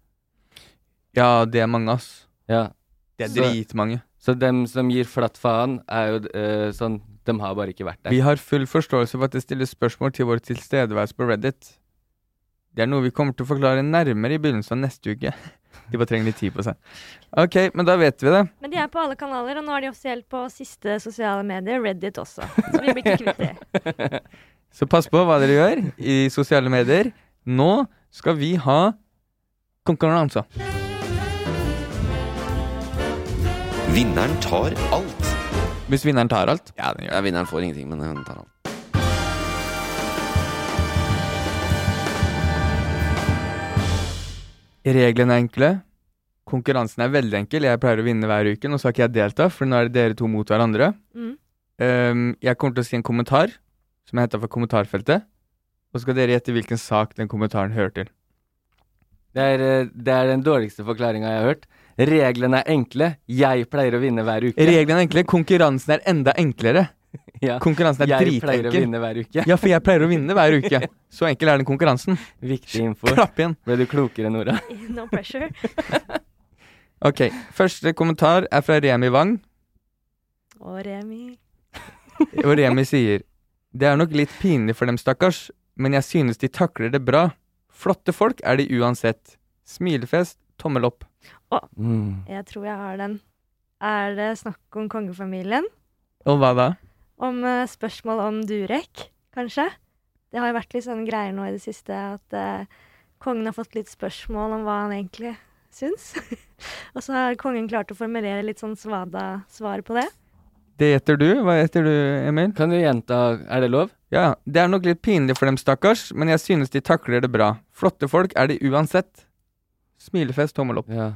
[SPEAKER 2] Ja, det er mange, ass.
[SPEAKER 3] Ja.
[SPEAKER 2] Det er
[SPEAKER 3] Så-
[SPEAKER 2] dritmange.
[SPEAKER 3] Så dem som gir flatt faen, er jo eh, sånn Dem har bare ikke vært der.
[SPEAKER 2] Vi har full forståelse for at det stilles spørsmål til vår tilstedeværelse på Reddit. Det er noe vi kommer til å forklare nærmere i begynnelsen av neste uke. De bare trenger litt tid på seg. Ok, men da vet vi det.
[SPEAKER 4] Men de er på alle kanaler, og nå er de offisielt på siste sosiale medier, Reddit også. Så vi blir ikke kvitt det.
[SPEAKER 2] Så pass på hva dere gjør i sosiale medier. Nå skal vi ha konkurranse.
[SPEAKER 1] Vinneren tar alt.
[SPEAKER 2] Hvis vinneren tar alt.
[SPEAKER 5] Ja, den gjør det. Vinneren får ingenting, men den tar alt.
[SPEAKER 2] Reglene er enkle. Konkurransen er veldig enkel. Jeg pleier å vinne hver uke. Nå skal ikke jeg delta, for nå er det dere to mot hverandre.
[SPEAKER 4] Mm.
[SPEAKER 2] Ehm, jeg kommer til å si en kommentar som jeg henta fra kommentarfeltet. Og så skal dere gjette hvilken sak den kommentaren hører til.
[SPEAKER 3] Det er, eh, det er den dårligste forklaringa jeg har hørt. Reglene er enkle. Jeg pleier å vinne hver uke.
[SPEAKER 2] Reglene er enkle. Konkurransen er enda enklere.
[SPEAKER 3] Ja.
[SPEAKER 2] Konkurransen er
[SPEAKER 3] Jeg pleier å
[SPEAKER 2] dritenkel.
[SPEAKER 3] vinne hver uke.
[SPEAKER 2] Ja, for jeg pleier å vinne hver uke. Så enkel er den konkurransen.
[SPEAKER 3] Viktig info.
[SPEAKER 2] Klapp igjen.
[SPEAKER 3] Ble du klokere, Nora?
[SPEAKER 4] No pressure.
[SPEAKER 2] Ok, Første kommentar er fra Remi Wang.
[SPEAKER 4] Og Remi.
[SPEAKER 2] Og Remi sier Det er nok litt pinlig for dem, stakkars, men jeg synes de takler det bra. Flotte folk er de uansett. Smilefest, tommel opp.
[SPEAKER 3] Mm.
[SPEAKER 4] Jeg tror jeg har den. Er det snakk om kongefamilien?
[SPEAKER 2] Og hva da?
[SPEAKER 4] Om eh, spørsmål om Durek, kanskje? Det har jo vært litt sånne greier nå i det siste at eh, kongen har fått litt spørsmål om hva han egentlig syns. og så har kongen klart å formulere litt sånn svada svar på det.
[SPEAKER 2] Det gjetter du. Hva gjetter du, Emil?
[SPEAKER 3] Kan du gjenta Er det lov?
[SPEAKER 2] Ja, det er nok litt pinlig for dem, stakkars, men jeg synes de takler det bra. Flotte folk er de uansett. Smilefest, tommel opp.
[SPEAKER 3] Ja.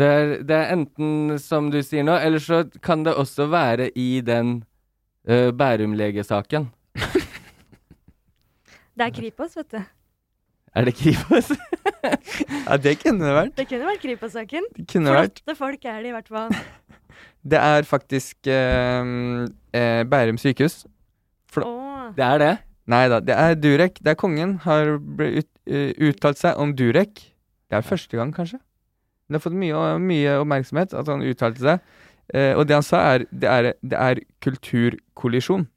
[SPEAKER 3] Det er, det er enten som du sier nå, eller så kan det også være i den eh, Bærum-legesaken.
[SPEAKER 4] Det er Kripos, vet du.
[SPEAKER 3] Er det Kripos?
[SPEAKER 2] Ja, det kunne det vært.
[SPEAKER 4] Det kunne vært Kripos-saken.
[SPEAKER 2] Det kunne det vært.
[SPEAKER 4] Flotte folk er de i hvert fall.
[SPEAKER 2] Det er faktisk eh, eh, Bærum sykehus. Fl-
[SPEAKER 4] Åh,
[SPEAKER 3] det er det.
[SPEAKER 2] Nei da, det er Durek. Det er kongen har ble ut, eh, uttalt seg om Durek. Det er første gang, kanskje. Det har fått mye, mye oppmerksomhet at han uttalte seg. Eh, og det han sa, er det er, det er kulturkollisjon.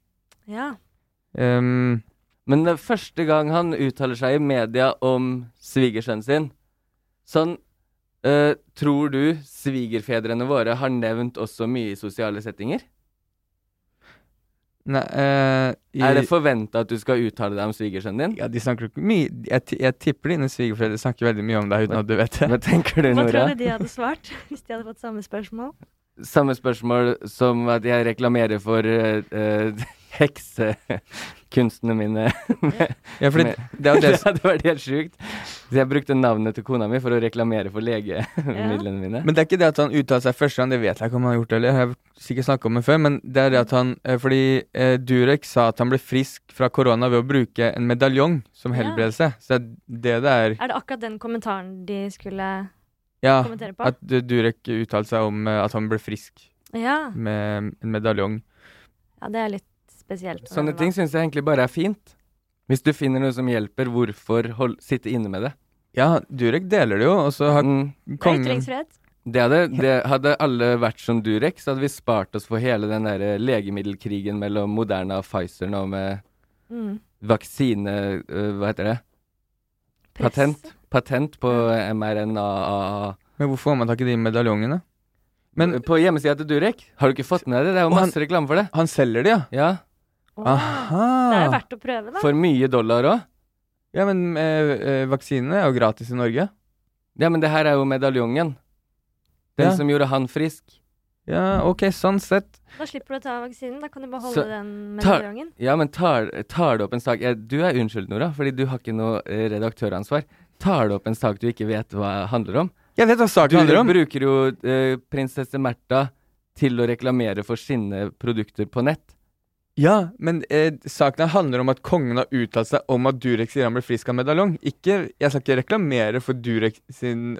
[SPEAKER 4] ja.
[SPEAKER 2] Ehm,
[SPEAKER 3] Men det er første gang han uttaler seg i media om svigersønnen sin Sånn eh, Tror du svigerfedrene våre har nevnt også mye i sosiale settinger?
[SPEAKER 2] nei eh, i,
[SPEAKER 3] Er det forventa at du skal uttale deg om svigersønnen din?
[SPEAKER 2] Ja, de snakker jo ikke mye Jeg, ti- jeg tipper dine svigerforeldre snakker veldig mye om deg uten
[SPEAKER 3] Men-
[SPEAKER 2] at du vet det.
[SPEAKER 3] Hva tenker du,
[SPEAKER 4] Hva
[SPEAKER 3] Nora?
[SPEAKER 4] tror du de hadde svart hvis de hadde fått samme spørsmål?
[SPEAKER 3] Samme spørsmål som at jeg reklamerer for eh, eh, heksekunstene mine.
[SPEAKER 2] Ja, fordi
[SPEAKER 3] men-
[SPEAKER 2] det er jo det
[SPEAKER 3] det
[SPEAKER 2] som
[SPEAKER 3] hadde vært helt sjukt. Så jeg brukte navnet til kona mi for å reklamere for legemidlene mine.
[SPEAKER 2] Men det er ikke det at han uttalte seg første gang, det vet jeg ikke om han har gjort det, eller jeg har sikkert snakket om det før, men det er det at han, eh, fordi eh, Durek sa at han ble frisk fra korona ved å bruke en medaljong som
[SPEAKER 4] Ja.
[SPEAKER 2] helbredelse, så det er det det er,
[SPEAKER 4] Er det akkurat den kommentaren de skulle
[SPEAKER 3] Ah,
[SPEAKER 2] ja,
[SPEAKER 4] kommentere på?
[SPEAKER 2] at eh, Durek uttalte seg om eh, at han ble frisk
[SPEAKER 4] Ja.
[SPEAKER 2] med en medaljong.
[SPEAKER 4] ja, det er litt spesielt.
[SPEAKER 3] Sånne
[SPEAKER 4] Men hva-
[SPEAKER 3] ting syns jeg egentlig bare er fint. Hvis du finner noe som hjelper, hvorfor hold, sitte inne med det?
[SPEAKER 2] Ja, Durek deler det jo, og så har
[SPEAKER 3] Mm.
[SPEAKER 4] Det er
[SPEAKER 2] kongen...
[SPEAKER 4] ytringsfrihet.
[SPEAKER 3] Det hadde, det hadde alle vært som Durek, så hadde vi spart oss for hele den der eh, legemiddelkrigen mellom Moderna og Pfizer nå med
[SPEAKER 4] Mm.
[SPEAKER 3] vaksine... eh, hva heter det?
[SPEAKER 4] Press.
[SPEAKER 3] Patent. Patent på mRNA.
[SPEAKER 2] Men hvorfor får man tak i de medaljongene? Men
[SPEAKER 3] på hjemmesida til Durek, har du ikke fått med deg det? Det er
[SPEAKER 2] Og
[SPEAKER 3] jo
[SPEAKER 2] han-
[SPEAKER 3] masse reklame for det.
[SPEAKER 2] han selger de, ja.
[SPEAKER 3] Ja,
[SPEAKER 4] Åh,
[SPEAKER 2] Aha!
[SPEAKER 4] Det er jo verdt å prøve, da.
[SPEAKER 3] Ah. For mye dollar òg.
[SPEAKER 2] Ja, men eh, eh, vaksinene er jo gratis i Norge.
[SPEAKER 3] Ja, men det her er jo medaljongen. Den
[SPEAKER 2] Ja.
[SPEAKER 3] som gjorde han frisk.
[SPEAKER 2] Ja, ok, sånn sett.
[SPEAKER 4] Da slipper du å ta vaksinen. Da kan du beholde
[SPEAKER 3] Så-
[SPEAKER 4] den
[SPEAKER 3] Tar-
[SPEAKER 4] medaljongen.
[SPEAKER 3] Ja, men tar, tar du opp en sak eh, Du er unnskyldt, Nora, fordi du har ikke noe eh, redaktøransvar. Tar du opp en sak du ikke vet hva handler om,
[SPEAKER 2] Jeg vet hva
[SPEAKER 3] Du
[SPEAKER 2] saken handler om.
[SPEAKER 3] bruker jo eh, prinsesse Märtha til å reklamere for sine produkter på nett.
[SPEAKER 2] Ja, men eh, saken her handler om at kongen har uttalt seg om at Durek sier han blir frisk av medaljong. Ikke, jeg skal ikke reklamere for Durek sin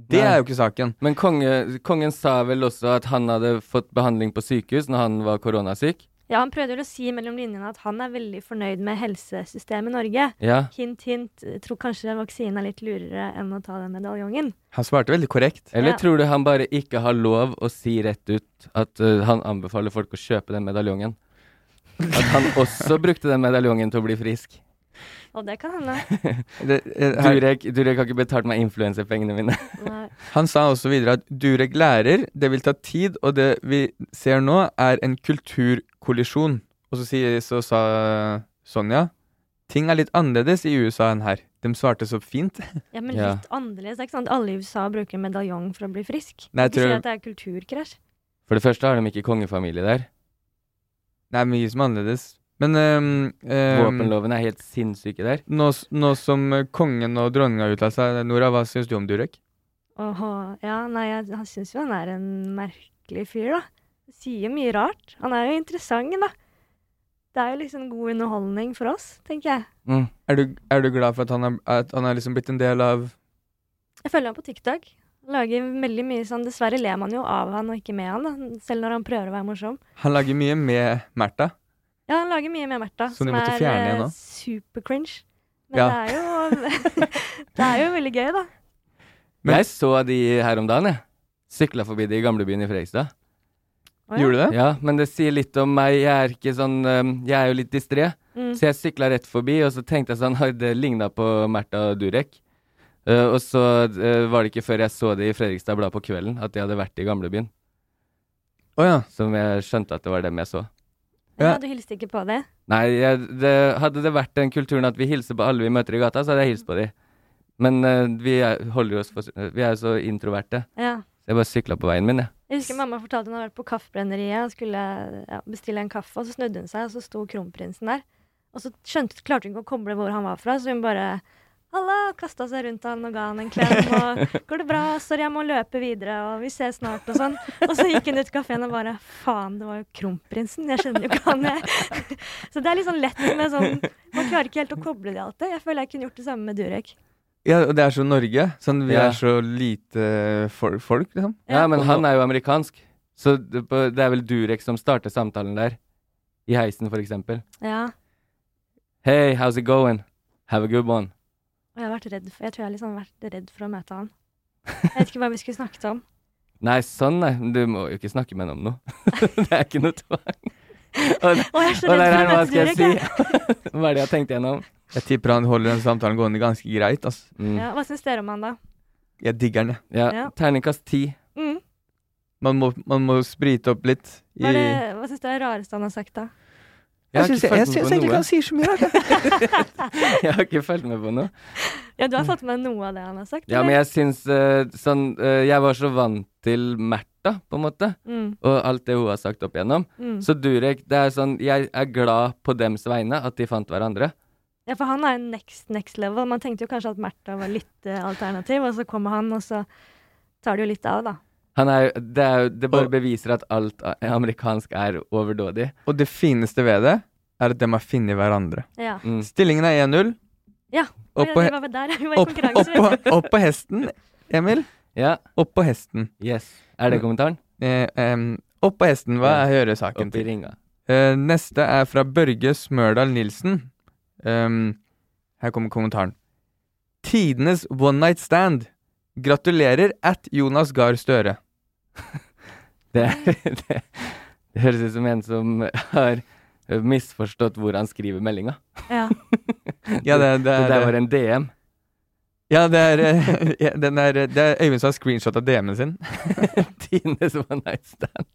[SPEAKER 2] Det
[SPEAKER 3] Nei.
[SPEAKER 2] er jo ikke saken.
[SPEAKER 3] Men konge, kongen sa vel også at han hadde fått behandling på sykehus når han var koronasyk?
[SPEAKER 4] Ja, han prøvde vel å si mellom linjene at han er veldig fornøyd med helsesystemet i Norge.
[SPEAKER 3] Ja.
[SPEAKER 4] Hint, hint, jeg tror kanskje vaksinen er litt lurere enn å ta den medaljongen.
[SPEAKER 2] Han svarte veldig korrekt.
[SPEAKER 3] Eller
[SPEAKER 4] Ja.
[SPEAKER 3] tror du han bare ikke har lov å si rett ut at eh, han anbefaler folk å kjøpe den medaljongen? At han også brukte den medaljongen til å bli frisk?
[SPEAKER 4] Og det kan hende.
[SPEAKER 2] Det, eh, her,
[SPEAKER 3] Durek, Durek har ikke betalt meg influenserpengene mine.
[SPEAKER 4] Nei.
[SPEAKER 2] han sa også videre at Durek lærer, det vil ta tid, og det vi ser nå, er en kulturkollisjon. Og så, sier, så sa Sonja ting er litt annerledes i USA enn her. De svarte så fint.
[SPEAKER 4] Ja, men
[SPEAKER 3] Ja.
[SPEAKER 4] litt annerledes. Det er ikke sant? Alle i USA bruker medaljong for å bli frisk.
[SPEAKER 2] Nei, jeg
[SPEAKER 4] ikke si
[SPEAKER 2] tror-
[SPEAKER 4] at det er kulturkrasj.
[SPEAKER 3] For det første har de ikke kongefamilie der.
[SPEAKER 2] Det er mye som er annerledes. Men ehm, ehm,
[SPEAKER 3] Våpenloven er helt sinnssyke der.
[SPEAKER 2] Nå, s- nå som eh, kongen og dronninga har uttalt seg, eh, Nora, hva syns du om Durek?
[SPEAKER 4] Åhå, ja, nei, jeg, han syns jo han er en merkelig fyr, da. Sier mye rart. Han er jo interessant, da. Det er jo liksom god underholdning for oss, tenker jeg.
[SPEAKER 3] Mm.
[SPEAKER 2] Er du, er du glad for at han er, at han er liksom blitt en del av
[SPEAKER 4] Jeg følger ham på TikTok. Lager veldig mye sånn Dessverre ler man jo av han og ikke med han, da. Selv når han prøver å være morsom.
[SPEAKER 2] Han lager mye med Märtha.
[SPEAKER 4] Ja, han lager mye med Märtha,
[SPEAKER 2] Så de
[SPEAKER 4] som
[SPEAKER 2] måtte
[SPEAKER 4] er
[SPEAKER 2] fjerne igjen
[SPEAKER 4] eh,
[SPEAKER 2] da?
[SPEAKER 4] super-cringe. Men
[SPEAKER 2] Ja.
[SPEAKER 4] det er jo Det er jo veldig gøy, da.
[SPEAKER 2] Men-
[SPEAKER 3] jeg så de her om dagen, jeg. Sykla forbi de i gamlebyen i Fredrikstad.
[SPEAKER 4] Å, ja.
[SPEAKER 2] Gjorde du det?
[SPEAKER 3] Ja, men det sier litt om meg. Jeg er ikke sånn øhm, Jeg er jo litt distré.
[SPEAKER 4] Mm.
[SPEAKER 3] Så jeg sykla rett forbi, og så tenkte jeg sånn «Oi, Det ligna på Märtha Durek. Eh, og så eh, var det ikke før jeg så det i Fredrikstad Blad på kvelden, at de hadde vært i gamlebyen.
[SPEAKER 2] Å ja.
[SPEAKER 3] Som jeg skjønte at det var dem jeg så.
[SPEAKER 2] Ja.
[SPEAKER 4] Ja, du hilste ikke på det?
[SPEAKER 3] Nei, jeg, det, hadde det vært den kulturen at vi hilser på alle vi møter i gata, så hadde jeg hilst på de. Men eh, vi, er, holder jo oss for, eh, vi er jo så introverte.
[SPEAKER 4] Ja.
[SPEAKER 3] Så jeg bare sykla på veien min, jeg.
[SPEAKER 4] Jeg husker mamma fortalte hun hadde vært på kaffebrenneriet og skulle ja, bestille en kaffe, og så snudde hun seg, og så sto kronprinsen der. Og så skjønte, klarte hun ikke å koble hvor han var fra, så hun bare Halla! Kasta seg rundt han og ga han en klem. Og 'Går det bra? Sorry, jeg må løpe videre, og vi ses snart', og sånn. Og så gikk hun ut kafeen og bare 'Faen, det var jo kronprinsen. Jeg kjenner jo ikke han, jeg'. Så det er litt sånn lett med sånn Man klarer ikke helt å koble det alltid. Jeg føler jeg kunne gjort det samme med Durek.
[SPEAKER 2] ja. Og det er så Norge. Sånn, vi
[SPEAKER 3] Ja.
[SPEAKER 2] er så lite folk, folk liksom.
[SPEAKER 3] Ja, men
[SPEAKER 2] Og
[SPEAKER 3] han
[SPEAKER 2] nå-
[SPEAKER 3] er jo amerikansk. Så det på- det er vel Durek som starter samtalen der. I heisen, for eksempel.
[SPEAKER 4] Ja.
[SPEAKER 3] Hey, how's it going? Have a good one.
[SPEAKER 4] Og jeg har vært redd for Jeg tror jeg har liksom vært redd for å møte han. Jeg vet ikke hva vi skulle snakket om.
[SPEAKER 3] Nei, sånn, nei. Du må jo ikke snakke med henne om noe. det er ikke noe tvang. Og,
[SPEAKER 4] Å, jeg er så
[SPEAKER 3] og
[SPEAKER 4] redd
[SPEAKER 3] der er
[SPEAKER 4] for å
[SPEAKER 3] hva
[SPEAKER 4] møte
[SPEAKER 3] skal jeg
[SPEAKER 4] Durek.
[SPEAKER 3] si?
[SPEAKER 4] jeg.
[SPEAKER 3] Hva er det jeg har tenkt gjennom?
[SPEAKER 2] Jeg tipper han holder den samtalen gående ganske greit. Altså.
[SPEAKER 3] Mm.
[SPEAKER 4] Ja, hva syns dere om han, da?
[SPEAKER 2] Jeg digger den, jeg.
[SPEAKER 3] Ja.
[SPEAKER 4] Ja.
[SPEAKER 3] Terningkast ti.
[SPEAKER 4] Mm.
[SPEAKER 2] Man må, man må sprite opp litt. I,
[SPEAKER 4] Hva, er det, hva syns dere er det rareste han har sagt, da?
[SPEAKER 3] Jeg har ikke fulgt med på noe.
[SPEAKER 2] sier så mye rart.
[SPEAKER 3] Jeg har ikke fulgt med på noe.
[SPEAKER 4] Ja, Du har fått med noe av det han har sagt?
[SPEAKER 3] Mm. Ja, men jeg syns eh, sånn eh, Jeg var så vant til Märtha, på en måte,
[SPEAKER 4] mm,
[SPEAKER 3] og alt det hun har sagt opp igjennom.
[SPEAKER 4] mm.
[SPEAKER 3] Så Durek, det er sånn Jeg er glad på dems vegne at de fant hverandre.
[SPEAKER 4] Ja, for han er jo next, next level. Man tenkte jo kanskje at Märtha var litt eh, alternativ, og så kommer han, og så tar det jo litt av, da.
[SPEAKER 3] Han er, jo- det, er, jo- det bare
[SPEAKER 2] Og-
[SPEAKER 3] beviser at alt a- amerikansk er overdådig.
[SPEAKER 2] Og det fineste ved det er at de har funnet hverandre.
[SPEAKER 4] Ja.
[SPEAKER 3] Mm.
[SPEAKER 2] Stillingen er 1-0.
[SPEAKER 4] Ja,
[SPEAKER 2] Opp
[SPEAKER 4] Oppå,
[SPEAKER 2] på he-
[SPEAKER 4] vi var vel der, vi var
[SPEAKER 2] Opp,
[SPEAKER 4] i
[SPEAKER 2] opp,
[SPEAKER 4] konkurranse.
[SPEAKER 2] på,
[SPEAKER 4] vet du.
[SPEAKER 2] opp på hesten, Emil.
[SPEAKER 3] Ja.
[SPEAKER 2] Opp på hesten.
[SPEAKER 3] Yes. Mm. Er det kommentaren?
[SPEAKER 2] Eh, em, opp på hesten, hva er høresaken
[SPEAKER 3] Opp i
[SPEAKER 2] til?
[SPEAKER 3] ringa.
[SPEAKER 2] Eh, neste er fra Børge Smørdal Nilsen. Em, her kommer kommentaren. Tidenes one night stand. Gratulerer at Jonas Gahr Støre.
[SPEAKER 3] Det, det, det høres ut som en som har misforstått hvor han skriver meldinga.
[SPEAKER 4] Ja.
[SPEAKER 2] Ja, det, det
[SPEAKER 3] Det
[SPEAKER 2] er,
[SPEAKER 3] der var en DM.
[SPEAKER 2] ja, det er, eh, ja, den er, eh, det er Øyvind som har screenshot av DM-en sin.
[SPEAKER 3] Tines one night stand.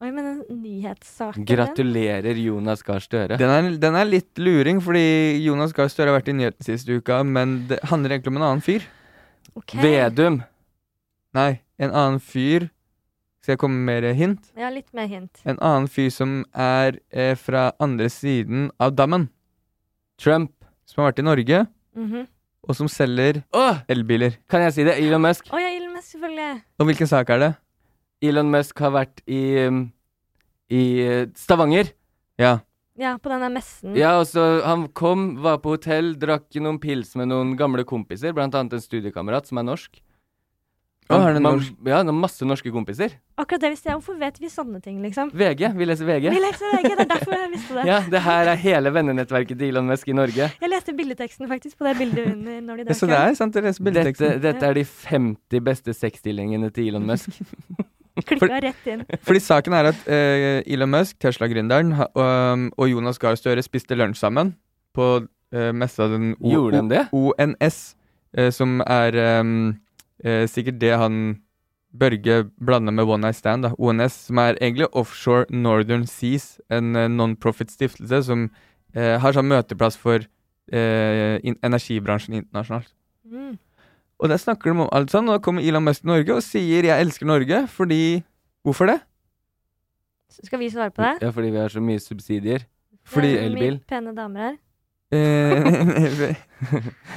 [SPEAKER 4] Oi, men den nyhetssaken den.
[SPEAKER 3] Gratulerer, Jonas Gahr Støre.
[SPEAKER 2] Den er, den er litt luring, fordi Jonas Gahr Støre har vært i nyhetene siste uka, men det handler egentlig om en annen fyr.
[SPEAKER 4] Ok.
[SPEAKER 3] Vedum.
[SPEAKER 2] Nei, en annen fyr Skal jeg komme med mer hint?
[SPEAKER 4] Ja, litt mer hint.
[SPEAKER 2] En annen fyr som er eh, fra andre siden av dammen,
[SPEAKER 3] Trump.
[SPEAKER 2] som har vært i Norge,
[SPEAKER 4] Mhm.
[SPEAKER 2] og som selger
[SPEAKER 3] Åh,
[SPEAKER 2] elbiler.
[SPEAKER 3] kan jeg si det? Elon Musk.
[SPEAKER 4] Å ja, Elon Musk, selvfølgelig.
[SPEAKER 2] Og hvilken sak er det?
[SPEAKER 3] Elon Musk har vært i, um, i eh, Stavanger.
[SPEAKER 2] Ja.
[SPEAKER 4] Ja, på den der messen.
[SPEAKER 2] Mm.
[SPEAKER 3] Ja, og så Han kom, var på hotell, drakk noen pils med noen gamle kompiser, blant annet en studiekamerat som er norsk.
[SPEAKER 2] Å, er det
[SPEAKER 3] Man-
[SPEAKER 2] norsk?
[SPEAKER 3] Ja, han har masse norske kompiser.
[SPEAKER 4] Akkurat det visste jeg. Hvorfor vet vi sånne ting, liksom?
[SPEAKER 3] VG. Vi leser VG.
[SPEAKER 4] Vi leser VG, det er derfor jeg visste det.
[SPEAKER 3] Ja, det her er hele vennenettverket til Elon Musk i Norge.
[SPEAKER 4] Jeg leste bildeteksten faktisk på det bildet under når de
[SPEAKER 2] Ja,
[SPEAKER 4] drakk.
[SPEAKER 2] Så det er sant, dere leser
[SPEAKER 3] Dette,
[SPEAKER 2] bildeteksten.
[SPEAKER 3] dette er de 50 beste sexstillingene til Elon Musk.
[SPEAKER 4] Klikka rett inn.
[SPEAKER 2] Fordi saken er at eh, Elon Musk, Tesla-gründeren, ha- og, og Jonas Gahr Støre spiste lunsj sammen på eh, messa den O-
[SPEAKER 3] Gjorde de det?
[SPEAKER 2] ONS, eh, som er eh, eh, sikkert det han Børge blanda med One Night Stand, da. ONS, som er egentlig Offshore Northern Seas, en eh, non-profit stiftelse som eh, har sånn møteplass for eh, in energibransjen internasjonalt.
[SPEAKER 4] Mm.
[SPEAKER 2] Og der snakker de om alt sånn, og da kommer Elon Musk til Norge og sier 'jeg elsker Norge', fordi Hvorfor det?
[SPEAKER 4] Skal vi svare på det?
[SPEAKER 3] Ja, fordi vi har så mye subsidier.
[SPEAKER 2] Fordi
[SPEAKER 4] det er mye
[SPEAKER 3] elbil.
[SPEAKER 4] pene damer her.
[SPEAKER 2] eh,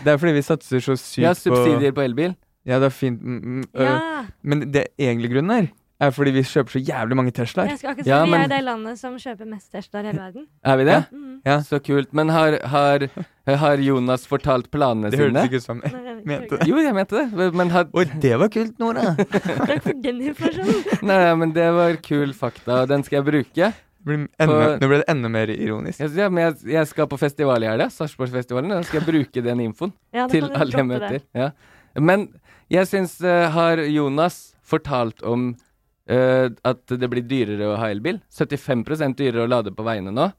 [SPEAKER 2] Det er fordi vi satser så sykt
[SPEAKER 3] Ja,
[SPEAKER 2] på
[SPEAKER 3] subsidier på elbil.
[SPEAKER 2] Ja, det er fint. Mm, mm,
[SPEAKER 3] Eh,
[SPEAKER 2] øh,
[SPEAKER 4] Ja,
[SPEAKER 2] Men det egentlige grunnen er, er fordi vi kjøper så jævlig mange Teslaer.
[SPEAKER 4] jeg skal akkurat si
[SPEAKER 3] Ja,
[SPEAKER 4] vi
[SPEAKER 3] men-
[SPEAKER 4] er det landet som kjøper mest Teslaer i hele verden.
[SPEAKER 3] Er vi det?
[SPEAKER 4] Mm.
[SPEAKER 2] Ja.
[SPEAKER 3] Så kult. Men har, har, har Jonas fortalt planene
[SPEAKER 2] Det hørtes
[SPEAKER 3] sine?
[SPEAKER 2] ikke ut som
[SPEAKER 4] Nei, jeg vet
[SPEAKER 2] Mente
[SPEAKER 4] ikke.
[SPEAKER 3] Jo, jeg mente det. Men, har,
[SPEAKER 2] Oi, det var kult, Nora! Det
[SPEAKER 4] Takk for den informasjonen.
[SPEAKER 3] nei, nei, men det var kul fakta, og den skal jeg bruke.
[SPEAKER 2] blir enda, nå ble det enda mer ironisk.
[SPEAKER 3] Jeg, ja, men jeg, jeg skal på festival i helga, Sarpsborgfestivalen. og Da skal jeg bruke den infoen
[SPEAKER 4] Ja, da
[SPEAKER 3] til
[SPEAKER 4] kan du
[SPEAKER 3] alle jeg
[SPEAKER 4] droppe
[SPEAKER 3] møter.
[SPEAKER 4] det.
[SPEAKER 3] Ja. Men jeg syns eh, Har Jonas fortalt om eh, at det blir dyrere å ha elbil? 75 dyrere å lade på veiene nå,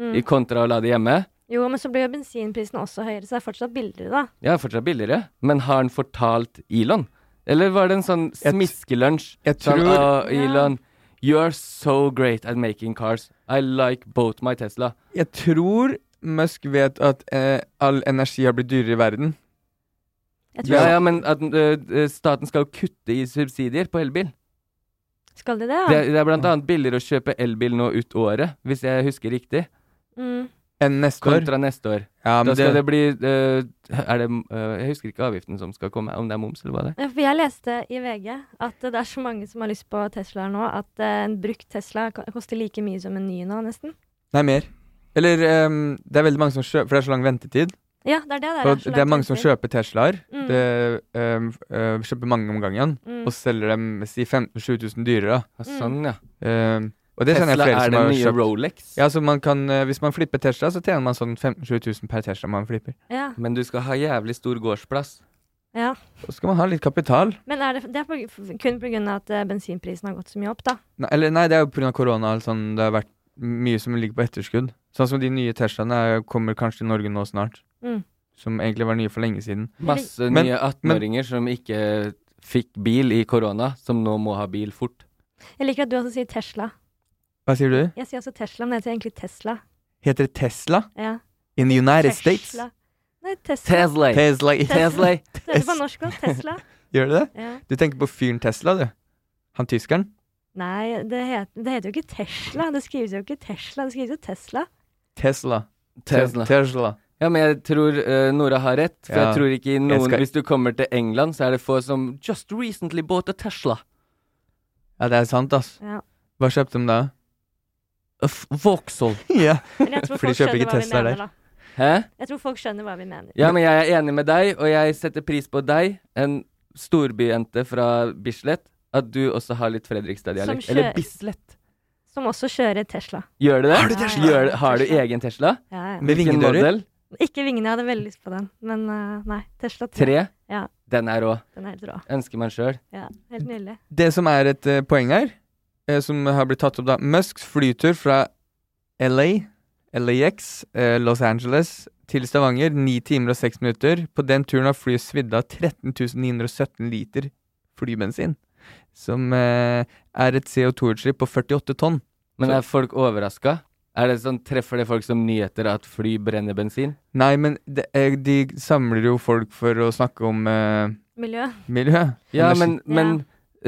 [SPEAKER 4] Mm.
[SPEAKER 3] i kontra å lade hjemme.
[SPEAKER 4] Jo, men så blir jo bensinprisen også høyere, så det er fortsatt billigere, da.
[SPEAKER 3] Ja, fortsatt billigere. Men har han fortalt Elon? Eller var det en sånn
[SPEAKER 2] Jeg t-
[SPEAKER 3] smiskelunsj?
[SPEAKER 2] jeg
[SPEAKER 3] Sånn,
[SPEAKER 2] tror-
[SPEAKER 3] «Å, Elon, you're so great at making cars. I like both my Tesla.
[SPEAKER 2] Jeg tror Musk vet at eh, all energi har blitt dyrere i verden.
[SPEAKER 4] Jeg tror
[SPEAKER 3] Ja, ja, men at ø, ø, staten skal jo kutte i subsidier på elbil.
[SPEAKER 4] Skal de det, ja?
[SPEAKER 3] Det, det er blant annet billigere å kjøpe elbil nå ut året, hvis jeg husker riktig,
[SPEAKER 4] Mm.
[SPEAKER 2] Enn neste år.
[SPEAKER 3] kontra neste år.
[SPEAKER 2] Ja, men
[SPEAKER 3] Da skal
[SPEAKER 2] det,
[SPEAKER 3] det bli ø, Er det ø, Jeg husker ikke avgiften som skal komme, om det er moms eller hva det er.
[SPEAKER 4] Ja, Eh, For jeg leste i VG at det er så mange som har lyst på Teslaer nå, at eh, en brukt Tesla ko- koster like mye som en ny nå, nesten.
[SPEAKER 2] nei, mer. Eller ehm, det er veldig mange som kjøper, for det er så lang ventetid.
[SPEAKER 4] Ja, det er det. Det er,
[SPEAKER 2] Og
[SPEAKER 4] så
[SPEAKER 2] det er
[SPEAKER 4] langt
[SPEAKER 2] mange som
[SPEAKER 4] etter.
[SPEAKER 2] kjøper Teslaer.
[SPEAKER 4] Mm.
[SPEAKER 2] Det, øhm, øh, kjøper mange om gangen,
[SPEAKER 4] Mm.
[SPEAKER 2] og selger dem si 15 7000 dyrere. da.
[SPEAKER 3] Ja, Sånn, ja.
[SPEAKER 2] Øhm, og det kjenner jeg
[SPEAKER 3] Tesla
[SPEAKER 2] flere
[SPEAKER 3] er
[SPEAKER 2] som
[SPEAKER 3] den
[SPEAKER 2] har
[SPEAKER 3] nye
[SPEAKER 2] kjøpt.
[SPEAKER 3] Rolex.
[SPEAKER 2] Ja, så man kan, øh, Hvis man flipper Tesla, så tjener man sånn 15 7000 per Tesla man flipper.
[SPEAKER 4] Ja,
[SPEAKER 3] Men du skal ha jævlig stor gårdsplass.
[SPEAKER 4] ja.
[SPEAKER 2] Og så skal man ha litt kapital.
[SPEAKER 4] Men er det, det er på, f- kun pga. at eh, bensinprisen har gått så mye opp, da.
[SPEAKER 2] Nei, eller nei, det er jo pga. korona. og alt Sånn, det har vært mye som ligger på etterskudd. Sånn som de nye Teslaene er- kommer kanskje til Norge nå snart.
[SPEAKER 4] Mm.
[SPEAKER 2] Som egentlig var nye for lenge siden.
[SPEAKER 3] Masse
[SPEAKER 2] Men-
[SPEAKER 3] nye 18-åringer som ikke fikk bil i korona, som nå må ha bil fort.
[SPEAKER 4] Jeg liker at du også sier Tesla.
[SPEAKER 2] Hva sier du?
[SPEAKER 4] Jeg sier også Tesla, men det heter egentlig Tesla.
[SPEAKER 2] Heter det Tesla
[SPEAKER 4] Ja.
[SPEAKER 2] in the United States?
[SPEAKER 4] Tesla. Nei, Tesla.
[SPEAKER 3] Tesla!
[SPEAKER 2] Tesla.
[SPEAKER 3] Tesla!
[SPEAKER 4] Det heter på norsk også. Tesla.
[SPEAKER 2] Gjør det det?
[SPEAKER 4] Ja.
[SPEAKER 2] Du tenker på fyren Tesla, du. Han tyskeren.
[SPEAKER 4] Nei, det, het, det heter jo ikke Tesla. Det skrives jo ikke Tesla, det skrives jo Tesla.
[SPEAKER 2] Tesla.
[SPEAKER 3] Tesla.
[SPEAKER 2] Te- Tesla.
[SPEAKER 3] Ja, men jeg tror eh, Nora har rett, for
[SPEAKER 2] Ja.
[SPEAKER 3] jeg tror ikke i noen
[SPEAKER 2] skal-
[SPEAKER 3] Hvis du kommer til England, så er det få som just recently bought a Tesla.
[SPEAKER 2] Ja, det er sant, ass.
[SPEAKER 4] Ja.
[SPEAKER 2] Hva kjøpte de da?
[SPEAKER 3] A f- Vauxhall.
[SPEAKER 2] ja.
[SPEAKER 4] Men jeg tror
[SPEAKER 2] For de
[SPEAKER 4] folk
[SPEAKER 2] kjøper
[SPEAKER 4] skjønner
[SPEAKER 2] ikke
[SPEAKER 4] hva vi
[SPEAKER 2] Tesla der.
[SPEAKER 4] mener, da.
[SPEAKER 3] Hæ?
[SPEAKER 4] Jeg tror folk skjønner hva vi mener.
[SPEAKER 3] Ja, men jeg er enig med deg, og jeg setter pris på deg, en storbyjente fra Bislett, at du også har litt
[SPEAKER 4] Som
[SPEAKER 3] Fredrikstad-dialekt.
[SPEAKER 4] kjø-
[SPEAKER 3] Eller Bislett.
[SPEAKER 4] Som også kjører Tesla.
[SPEAKER 3] Gjør du det?
[SPEAKER 4] Har du Tesla?
[SPEAKER 3] Gjør, har du egen Tesla?
[SPEAKER 4] Ja, ja.
[SPEAKER 2] Med
[SPEAKER 3] Hvilken
[SPEAKER 2] vingedører?
[SPEAKER 3] modell?
[SPEAKER 4] Ikke vingene, jeg hadde veldig lyst på den. Men eh, nei, Tesla 3.
[SPEAKER 3] Tre?
[SPEAKER 4] Ja.
[SPEAKER 3] Den er rå.
[SPEAKER 4] Den er helt rå.
[SPEAKER 3] Ønsker man sjøl.
[SPEAKER 4] Ja, helt nydelig.
[SPEAKER 2] Det som er et eh, poeng her, eh, som har blitt tatt opp da Musks flytur fra LA, LAX, eh, Los Angeles til Stavanger, 9 timer og 6 minutter. På den turen har flyet svidd av 13 917 liter flybensin. Som eh, er et CO2-utslipp på 48 tonn.
[SPEAKER 3] Men
[SPEAKER 2] Så-
[SPEAKER 3] er folk overraska? Er det sånn, treffer det folk som nyheter at fly brenner bensin?
[SPEAKER 2] Nei, men det, eh, de samler jo folk for å snakke om eh,
[SPEAKER 4] Miljø.
[SPEAKER 2] miljø.
[SPEAKER 3] Ja,
[SPEAKER 2] Energi.
[SPEAKER 3] men,
[SPEAKER 4] Ja.
[SPEAKER 3] men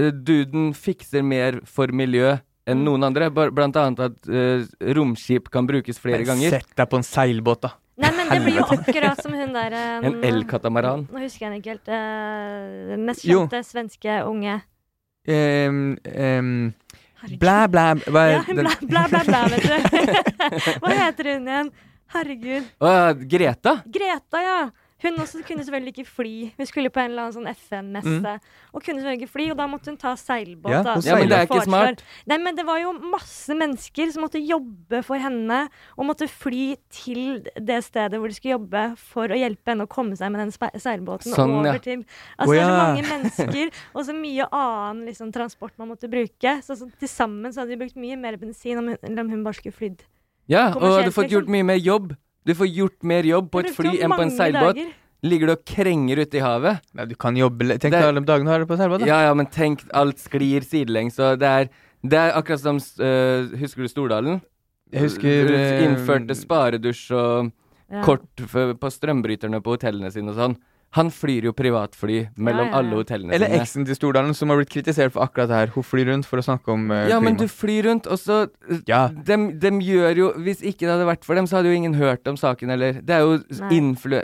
[SPEAKER 3] eh, duden fikser mer for miljø enn
[SPEAKER 4] Mm.
[SPEAKER 3] noen andre. Bar- Blant annet at eh, romskip kan brukes flere
[SPEAKER 2] Men
[SPEAKER 3] ganger.
[SPEAKER 2] Sett deg på en seilbåt, da.
[SPEAKER 4] Nei, men det blir jo akkurat som hun der eh,
[SPEAKER 3] En elkatamaran.
[SPEAKER 4] Nå husker jeg den ikke helt. eh, Den mest
[SPEAKER 2] Jo.
[SPEAKER 4] kjente svenske unge.
[SPEAKER 2] Em, em,
[SPEAKER 4] Herregud.
[SPEAKER 2] blæ, blæ hva er
[SPEAKER 4] Ja,
[SPEAKER 2] den-
[SPEAKER 4] bla, bla, bla, bla, vet du. Hva heter hun igjen? Herregud.
[SPEAKER 3] Å, ja, Greta!
[SPEAKER 4] Greta, ja. Hun også kunne selvfølgelig ikke fly. Hun skulle på en eller annen sånn FN-messe.
[SPEAKER 3] Mm.
[SPEAKER 4] Og kunne selvfølgelig ikke fly, og da måtte hun ta seilbåt.
[SPEAKER 2] Ja,
[SPEAKER 4] da,
[SPEAKER 2] hun
[SPEAKER 4] som
[SPEAKER 2] seiler. Ja,
[SPEAKER 4] hun
[SPEAKER 2] men det
[SPEAKER 3] er ikke
[SPEAKER 4] foreslår.
[SPEAKER 3] smart.
[SPEAKER 4] Nei, men det var jo masse mennesker som måtte jobbe for henne, og måtte fly til det stedet hvor de skulle jobbe, for å hjelpe henne å komme seg med den spe- seilbåten
[SPEAKER 3] Sånn, ja.
[SPEAKER 4] over til Altså,
[SPEAKER 2] Å,
[SPEAKER 4] det er så
[SPEAKER 2] ja.
[SPEAKER 4] mange mennesker, og så mye annen liksom, transport man måtte bruke. Så, så til sammen så hadde de brukt mye mer bensin om hun, enn om hun bare skulle flydd.
[SPEAKER 3] Ja, og
[SPEAKER 4] Kommersielt,
[SPEAKER 3] du får ikke gjort
[SPEAKER 4] liksom.
[SPEAKER 3] mye mer jobb. Du får gjort mer jobb på
[SPEAKER 4] De
[SPEAKER 3] et
[SPEAKER 4] brukte
[SPEAKER 3] fly
[SPEAKER 4] jo
[SPEAKER 3] enn på en
[SPEAKER 4] mange
[SPEAKER 3] seilbåt.
[SPEAKER 4] dager.
[SPEAKER 3] Ligger du og krenger ute i havet?
[SPEAKER 2] Nei, du kan jobbe litt. Tenk
[SPEAKER 3] Det-
[SPEAKER 2] alle de dagene du har det på seilbåt. da.
[SPEAKER 3] Ja, ja, men tenk, alt sklir sidelengs, og det er det er akkurat som øh, Husker du Stordalen?
[SPEAKER 2] Jeg husker
[SPEAKER 3] Du
[SPEAKER 2] eh,
[SPEAKER 3] Innførte sparedusj og
[SPEAKER 4] Ja.
[SPEAKER 3] kort f på strømbryterne på hotellene sine og sånn. Han flyr jo privatfly mellom
[SPEAKER 4] Ja, ja, ja.
[SPEAKER 3] alle hotellene
[SPEAKER 2] Eller
[SPEAKER 3] sine.
[SPEAKER 2] eksen til Stordalen, som har blitt kritisert for akkurat det her. Hun flyr rundt for å snakke om eh,
[SPEAKER 3] Ja, men
[SPEAKER 2] klima.
[SPEAKER 3] du flyr rundt, og så øh,
[SPEAKER 2] Ja.
[SPEAKER 3] dem, dem gjør jo Hvis ikke det hadde vært for dem, så hadde jo ingen hørt om saken heller. Det er jo
[SPEAKER 4] Nei.
[SPEAKER 3] innflø...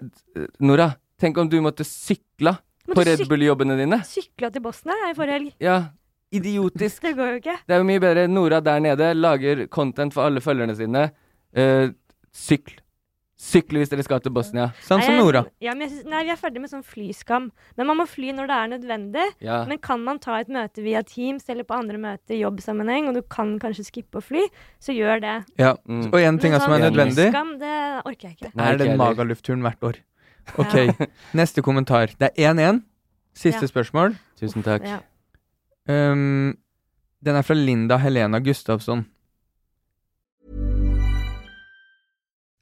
[SPEAKER 3] Nora, tenk om du måtte sykla på
[SPEAKER 4] Måtte
[SPEAKER 3] Red
[SPEAKER 4] syk-
[SPEAKER 3] Bull-jobbene dine.
[SPEAKER 4] Sykla til Bosnia jeg, i forrige helg.
[SPEAKER 3] Ja, idiotisk.
[SPEAKER 4] Det går jo ikke.
[SPEAKER 3] Det er jo mye bedre. Nora der nede lager content for alle følgerne sine. Eh, sykl. Sykl hvis dere skal til Bosnia.
[SPEAKER 2] Sånn som
[SPEAKER 4] Nei, jeg-
[SPEAKER 2] Nora.
[SPEAKER 4] Ja, men jeg synes, nei, vi er ferdig med sånn flyskam. Men man må fly når det er nødvendig.
[SPEAKER 3] Ja.
[SPEAKER 4] Men kan man ta et møte via Teams eller på andre møter i jobbsammenheng, og du kan kanskje skippe å fly, så gjør det.
[SPEAKER 2] Ja.
[SPEAKER 3] Mm.
[SPEAKER 2] Og en ting
[SPEAKER 4] Men
[SPEAKER 2] som er
[SPEAKER 4] sånn
[SPEAKER 2] nødvendig,
[SPEAKER 4] Flyskam, det orker jeg ikke.
[SPEAKER 3] Nei, ikke
[SPEAKER 2] er den
[SPEAKER 3] heller.
[SPEAKER 2] Magaluf-turen hvert år. Ok, neste kommentar. Det er 1-1. Siste
[SPEAKER 4] Ja.
[SPEAKER 2] spørsmål.
[SPEAKER 3] Tusen takk.
[SPEAKER 4] Ja.
[SPEAKER 2] Um, den er fra Linda Helena Gustavsson.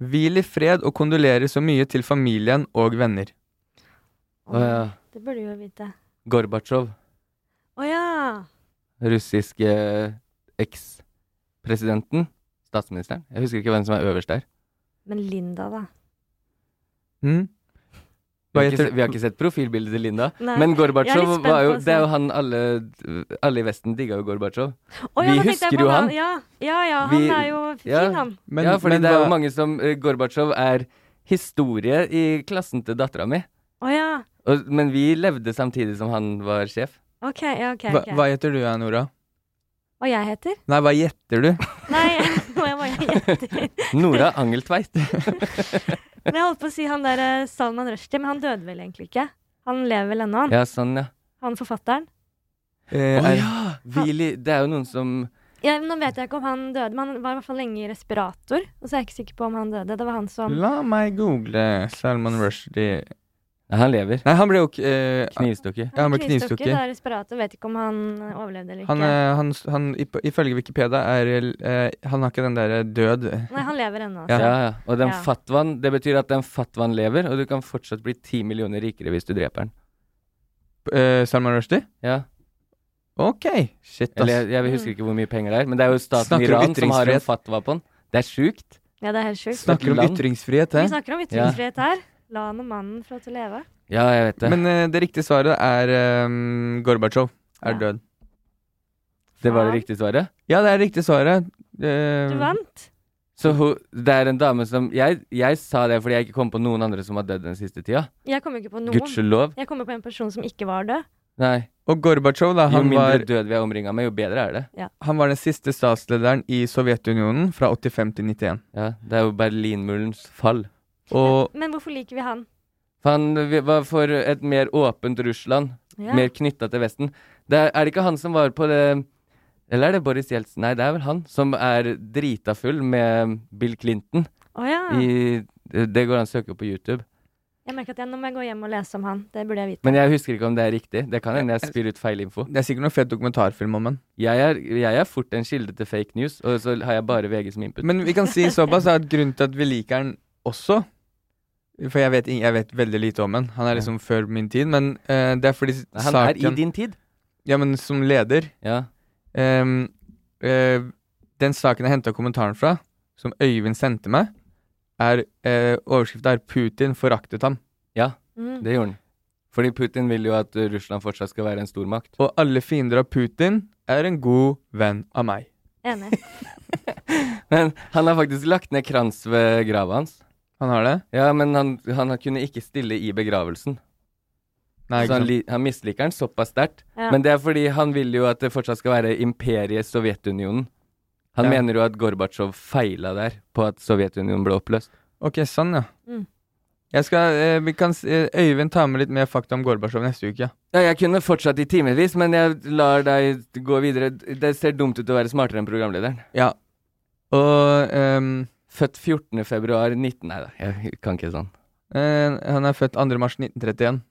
[SPEAKER 2] Hvil i fred og kondolerer så mye til familien og venner.
[SPEAKER 3] Å ja.
[SPEAKER 4] Det burde du jo vite.
[SPEAKER 3] Gorbatsjov.
[SPEAKER 4] Å ja.
[SPEAKER 3] Russiske eh, eks-presidenten. Statsministeren. Jeg husker ikke hvem som er øverst der.
[SPEAKER 4] Men Linda, da.
[SPEAKER 2] Hm?
[SPEAKER 3] Vi
[SPEAKER 2] Hva
[SPEAKER 3] har ikke,
[SPEAKER 2] heter
[SPEAKER 3] se- vi har ikke sett profilbildet til Linda.
[SPEAKER 4] Nei.
[SPEAKER 3] Men
[SPEAKER 4] Jeg er litt
[SPEAKER 3] Gorbatsjov
[SPEAKER 4] spent
[SPEAKER 3] var jo
[SPEAKER 4] på å se.
[SPEAKER 3] Det er jo han alle Alle i Vesten digga jo Gorbatsjov.
[SPEAKER 4] Å, ja,
[SPEAKER 3] Vi
[SPEAKER 4] nå tenkte jeg
[SPEAKER 3] husker
[SPEAKER 4] på
[SPEAKER 3] jo han.
[SPEAKER 4] Ja, ja, ja han
[SPEAKER 3] Vi-
[SPEAKER 4] er jo fin,
[SPEAKER 3] ja.
[SPEAKER 4] han.
[SPEAKER 2] Men,
[SPEAKER 3] ja, fordi
[SPEAKER 2] men
[SPEAKER 3] det er
[SPEAKER 2] hva-
[SPEAKER 3] jo mange som eh, Gorbatsjov er historie i klassen til dattera mi.
[SPEAKER 4] Å ja.
[SPEAKER 3] Og, men vi levde samtidig som han var sjef.
[SPEAKER 4] OK, ja, OK.
[SPEAKER 2] hva,
[SPEAKER 4] ok.
[SPEAKER 2] hva heter du, Nora?
[SPEAKER 4] Hva jeg heter?
[SPEAKER 2] Nei, hva gjetter du?
[SPEAKER 4] Nei, hva jeg heter?
[SPEAKER 3] Nora Angeltveit.
[SPEAKER 4] Men Jeg holdt på å si han der eh, Salman Rushdie, men han døde vel egentlig ikke? Han lever vel ennå, han.
[SPEAKER 3] Ja, sånn, ja.
[SPEAKER 4] Han forfatteren.
[SPEAKER 2] Eh,
[SPEAKER 3] Å
[SPEAKER 2] er-
[SPEAKER 3] ja! Hvil i Det er jo noen som
[SPEAKER 4] Ja, nå vet jeg ikke om han døde, men han var i hvert fall lenge i respirator. Og så er jeg ikke sikker på om han døde. Det var han som
[SPEAKER 2] La meg google Salman Rushdie.
[SPEAKER 3] Nei, han lever.
[SPEAKER 2] Nei, han ble jo eh,
[SPEAKER 3] Knivstukket.
[SPEAKER 2] Ja, han ble
[SPEAKER 4] knivstukket.
[SPEAKER 2] knivstukket.
[SPEAKER 4] Da respirator vet ikke om han eh, overlevde eller ikke.
[SPEAKER 2] Han, eh, han, han, ip- ifølge Wikipedia er eh, Han har ikke den der død
[SPEAKER 4] Nei, han lever ennå.
[SPEAKER 3] Ja,
[SPEAKER 4] altså.
[SPEAKER 3] ja. Og den
[SPEAKER 4] Ja.
[SPEAKER 3] fatwaen, det betyr at den fatwaen lever, og du kan fortsatt bli ti millioner rikere hvis du dreper den.
[SPEAKER 2] eh, Salman Rushdie?
[SPEAKER 3] Ja.
[SPEAKER 2] Ok, shit, ass.
[SPEAKER 3] Eller jeg, jeg husker ikke hvor mye penger det er, men det er jo staten
[SPEAKER 2] Snakker om
[SPEAKER 3] Iran som har en
[SPEAKER 2] ytringsfrihet.
[SPEAKER 3] fatwa på den. Det er sjukt.
[SPEAKER 4] Ja, det er helt sjukt.
[SPEAKER 2] Snakker om
[SPEAKER 3] Land.
[SPEAKER 2] ytringsfrihet,
[SPEAKER 4] Vi
[SPEAKER 2] hæ?
[SPEAKER 4] snakker om ytringsfrihet her. La nå mannen få lov til å leve.
[SPEAKER 3] Ja, jeg vet det.
[SPEAKER 2] Men eh, det riktige svaret er um, Gorbatsjov er død.
[SPEAKER 3] Det var
[SPEAKER 4] Faen.
[SPEAKER 3] det riktige svaret?
[SPEAKER 2] Ja, det er riktig svaret.
[SPEAKER 4] Du
[SPEAKER 2] Eh,
[SPEAKER 4] vant.
[SPEAKER 3] Så hun, det er en dame som jeg, jeg sa det fordi jeg ikke kom på noen andre som har dødd den siste tida.
[SPEAKER 4] Jeg kommer ikke på noen.
[SPEAKER 3] Gudskjelov.
[SPEAKER 4] Jeg kommer på en person som ikke var død.
[SPEAKER 3] Nei.
[SPEAKER 2] og Gorbatsjov, da,
[SPEAKER 3] Jo
[SPEAKER 2] han
[SPEAKER 3] mindre
[SPEAKER 2] var,
[SPEAKER 3] død vi er omringa med, jo bedre er det.
[SPEAKER 2] han var den siste statslederen i Sovjetunionen fra 85 til 91.
[SPEAKER 3] Ja, Det er jo Berlinmurens fall.
[SPEAKER 2] Og
[SPEAKER 4] Men hvorfor liker vi han?
[SPEAKER 3] For han vi- var for et mer åpent Russland.
[SPEAKER 4] Ja.
[SPEAKER 3] Mer knytta til Vesten. Det er, er det ikke han som var på det Eller er det Boris Jeltsin? Nei, det er vel han som er drita full med Bill Clinton.
[SPEAKER 4] Å ja.
[SPEAKER 3] I, det går an å søke på YouTube.
[SPEAKER 4] Jeg merker at jeg, nå må jeg gå hjem og lese om han. Det burde jeg vite.
[SPEAKER 3] Men jeg husker ikke om det er riktig. Det kan hende jeg spyr ut feil info.
[SPEAKER 2] det er sikkert noe fet dokumentarfilm om han.
[SPEAKER 3] Jeg er, jeg er fort en kilde til fake news, og så har jeg bare VG som input.
[SPEAKER 2] Men vi kan si såpass at grunnen til at vi liker han også For jeg vet, ing- jeg vet veldig lite om han. Han er liksom før min tid, men eh, det er fordi
[SPEAKER 3] han er i din tid.
[SPEAKER 2] Ja, men som leder
[SPEAKER 3] Ja.
[SPEAKER 2] Ehm, eh, Den saken jeg henta kommentaren fra, som Øyvind sendte meg, er uh, overskrifta er 'Putin foraktet ham'.
[SPEAKER 3] Ja,
[SPEAKER 4] Mm.
[SPEAKER 3] det gjorde han. Fordi Putin vil jo at eh, Russland fortsatt skal være en stormakt.
[SPEAKER 2] Og alle fiender av Putin er en god venn av meg.
[SPEAKER 4] Enig.
[SPEAKER 3] Men han har faktisk lagt ned krans ved grava hans.
[SPEAKER 2] Han har det?
[SPEAKER 3] Ja, men han, han kunne ikke stille i begravelsen.
[SPEAKER 2] Nei, ikke
[SPEAKER 3] så han,
[SPEAKER 2] sant.
[SPEAKER 3] Sånn li, han misliker den såpass sterkt.
[SPEAKER 4] Ja.
[SPEAKER 3] Men det er fordi han vil jo at det fortsatt skal være imperiet Sovjetunionen. Han
[SPEAKER 2] Ja.
[SPEAKER 3] mener jo at Gorbatsjov feila der, på at Sovjetunionen ble oppløst.
[SPEAKER 2] Ok, sånn, ja.
[SPEAKER 4] Mm.
[SPEAKER 2] Jeg skal, eh, vi kan, s- eh, Øyvind tar med litt mer fakta om Gorbatsjov neste uke.
[SPEAKER 3] Ja, jeg kunne fortsatt i timevis, men jeg lar deg gå videre. Det ser dumt ut å være smartere enn programlederen.
[SPEAKER 2] Ja. Og ehm,
[SPEAKER 3] Født 14. februar 19... Nei da, jeg kan ikke sånn.
[SPEAKER 2] eh, han er født 2. mars 1931.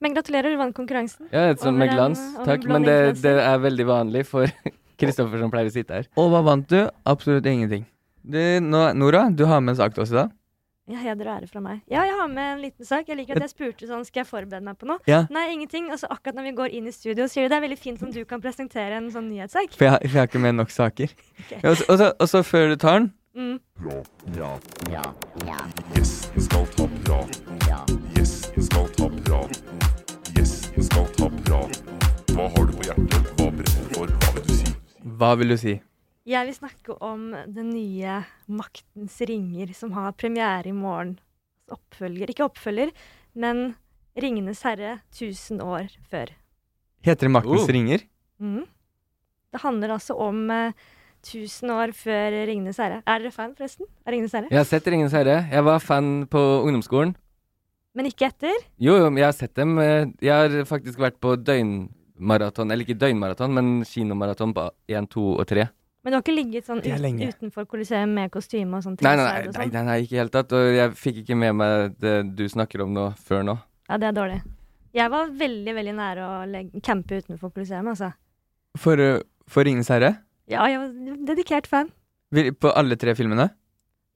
[SPEAKER 4] Men gratulerer, du vant konkurransen.
[SPEAKER 3] Ja, et sånt med
[SPEAKER 4] Over en-
[SPEAKER 3] glans.
[SPEAKER 4] over en
[SPEAKER 3] Takk. Men
[SPEAKER 4] blond
[SPEAKER 3] det,
[SPEAKER 4] influencer.
[SPEAKER 3] det er veldig vanlig for Kristoffer som pleier å sitte her.
[SPEAKER 2] Og hva vant du? Absolutt ingenting. Du, nå, Nora, du har med en sak til oss i dag.
[SPEAKER 4] Ja, heder og ære fra meg. Ja, jeg har med en liten sak. Jeg liker at jeg spurte sånn, skal jeg forberede meg på noe?
[SPEAKER 2] Ja.
[SPEAKER 4] Nei, ingenting. Og så akkurat når vi går inn i studio, sier du det er veldig fint om du kan presentere en sånn nyhetssak.
[SPEAKER 2] For jeg, har- for jeg har ikke med nok saker. Ja, og så- og så- Og så før du tar den
[SPEAKER 4] Mm.
[SPEAKER 2] Hva vil du si?
[SPEAKER 4] Jeg vil snakke om den nye Maktens ringer, som har premiere i morgen. Oppfølger. Ikke oppfølger, men Ringenes herre 1000 år før.
[SPEAKER 2] Heter det Maktens
[SPEAKER 3] Oh.
[SPEAKER 2] ringer?
[SPEAKER 4] Mm. Det handler altså om eh, 1000 år før Ringenes herre. Er dere fan, forresten? Av Ringenes herre?
[SPEAKER 3] Jeg har sett Ringenes herre. Jeg var fan på ungdomsskolen.
[SPEAKER 4] Men ikke etter?
[SPEAKER 3] Jo, jo, men jeg har sett dem. eh, Jeg har faktisk vært på døgnmaraton, eller ikke døgnmaraton, men kinomaraton på 1, 2 og 3.
[SPEAKER 4] Men du har ikke ligget sånn
[SPEAKER 2] Det er
[SPEAKER 4] ut,
[SPEAKER 2] lenge.
[SPEAKER 4] utenfor Colosseum med kostyme og sånn?
[SPEAKER 3] Nei, nei,
[SPEAKER 4] tilsverd
[SPEAKER 3] nei,
[SPEAKER 4] og
[SPEAKER 3] nei,
[SPEAKER 4] sånn?
[SPEAKER 3] nei, nei ikke i det hele tatt. Og jeg fikk ikke med meg det du snakker om nå, før nå.
[SPEAKER 4] Ja, det er dårlig. Jeg var veldig, veldig nære å legge, campe utenfor Colosseum, altså.
[SPEAKER 2] For, uh, for Ringenes herre?
[SPEAKER 4] Ja, jeg var dedikert fan.
[SPEAKER 2] Vil- På alle tre filmene?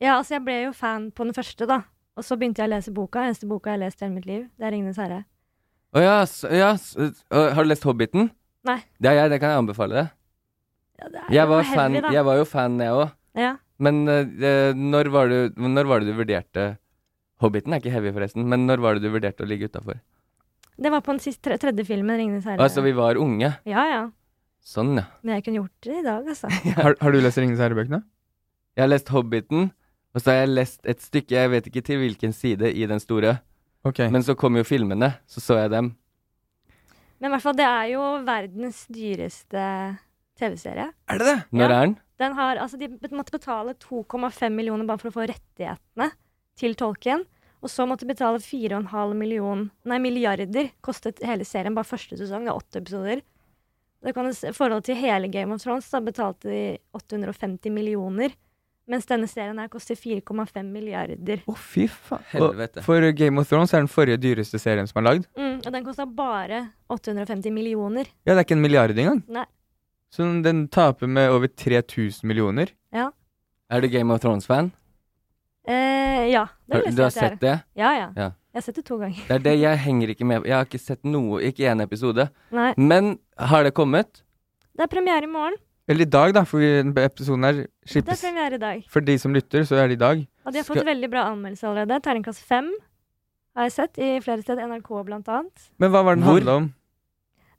[SPEAKER 4] Ja, altså jeg ble jo fan på den første, da. Og så begynte jeg å lese boka. Eneste boka jeg har lest i hele mitt liv, det er 'Ringenes herre'.
[SPEAKER 3] Å ja, s- ja s- øh, har du lest Hobbiten?
[SPEAKER 4] Nei.
[SPEAKER 3] Det er jeg, det kan jeg anbefale deg.
[SPEAKER 4] Ja, det er
[SPEAKER 3] Jeg
[SPEAKER 4] det
[SPEAKER 3] var, fan,
[SPEAKER 4] heavy, da.
[SPEAKER 3] jeg var jo fan, jeg òg.
[SPEAKER 4] Ja.
[SPEAKER 3] Men eh, eh, når, var du, når var det du vurderte Hobbiten er ikke heavy, forresten, men når var det du vurderte å ligge utafor?
[SPEAKER 4] Det var på den siste, tre- tredje filmen, 'Ringenes herre'.
[SPEAKER 3] Altså, vi var unge.
[SPEAKER 4] Ja, ja.
[SPEAKER 3] Sånn, ja.
[SPEAKER 4] Men jeg kunne gjort det i dag, altså.
[SPEAKER 2] Har, har du lest Ringenes herre-bøkene?
[SPEAKER 3] Jeg har lest Hobbiten, og så har jeg lest et stykke, jeg vet ikke til hvilken side i den store.
[SPEAKER 2] Ok.
[SPEAKER 3] Men så kom jo filmene, så så jeg dem.
[SPEAKER 4] Men i hvert fall, det er jo verdens dyreste TV-serie.
[SPEAKER 2] er det det?
[SPEAKER 3] Når
[SPEAKER 4] Ja.
[SPEAKER 3] er den?
[SPEAKER 4] Den har, altså De bet- måtte betale 2,5 millioner bare for å få rettighetene til tolken. Og så måtte de betale 4,5 million, nei, milliarder, kostet hele serien bare første sesong. Det er åtte episoder. Da kan du se, I forhold til hele Game of Thrones da betalte de 850 millioner, mens denne serien her koster 4,5 milliarder.
[SPEAKER 2] Fy faen.
[SPEAKER 3] Helvete.
[SPEAKER 2] Og For Game of Thrones er den forrige dyreste serien som er lagd.
[SPEAKER 4] Mm, og den kosta bare 850 millioner.
[SPEAKER 2] Ja, det er ikke en milliard engang.
[SPEAKER 4] Nei.
[SPEAKER 2] Så den- den taper med over 3000 millioner.
[SPEAKER 4] Ja.
[SPEAKER 3] Er du Game of Thrones-fan?
[SPEAKER 4] Eh, ja. Det
[SPEAKER 3] Har-
[SPEAKER 4] vil jeg si
[SPEAKER 3] du har
[SPEAKER 4] at jeg er.
[SPEAKER 3] sett det?
[SPEAKER 4] Ja, ja.
[SPEAKER 3] Ja.
[SPEAKER 4] Jeg har sett det to ganger.
[SPEAKER 3] Det er det jeg henger ikke med på. Jeg har ikke sett noe, ikke én episode.
[SPEAKER 4] Nei.
[SPEAKER 3] Men har det kommet?
[SPEAKER 4] Det er premiere i morgen.
[SPEAKER 2] Eller i dag, da, for vi- episoden her
[SPEAKER 4] Det er
[SPEAKER 2] slippes.
[SPEAKER 4] premiere i dag.
[SPEAKER 2] For de som lytter, så er det i dag.
[SPEAKER 4] Og de har
[SPEAKER 2] Skal-
[SPEAKER 4] fått veldig bra anmeldelse allerede. Terningkast fem har jeg sett i flere steder. NRK blant annet.
[SPEAKER 2] Men hva var den handla om?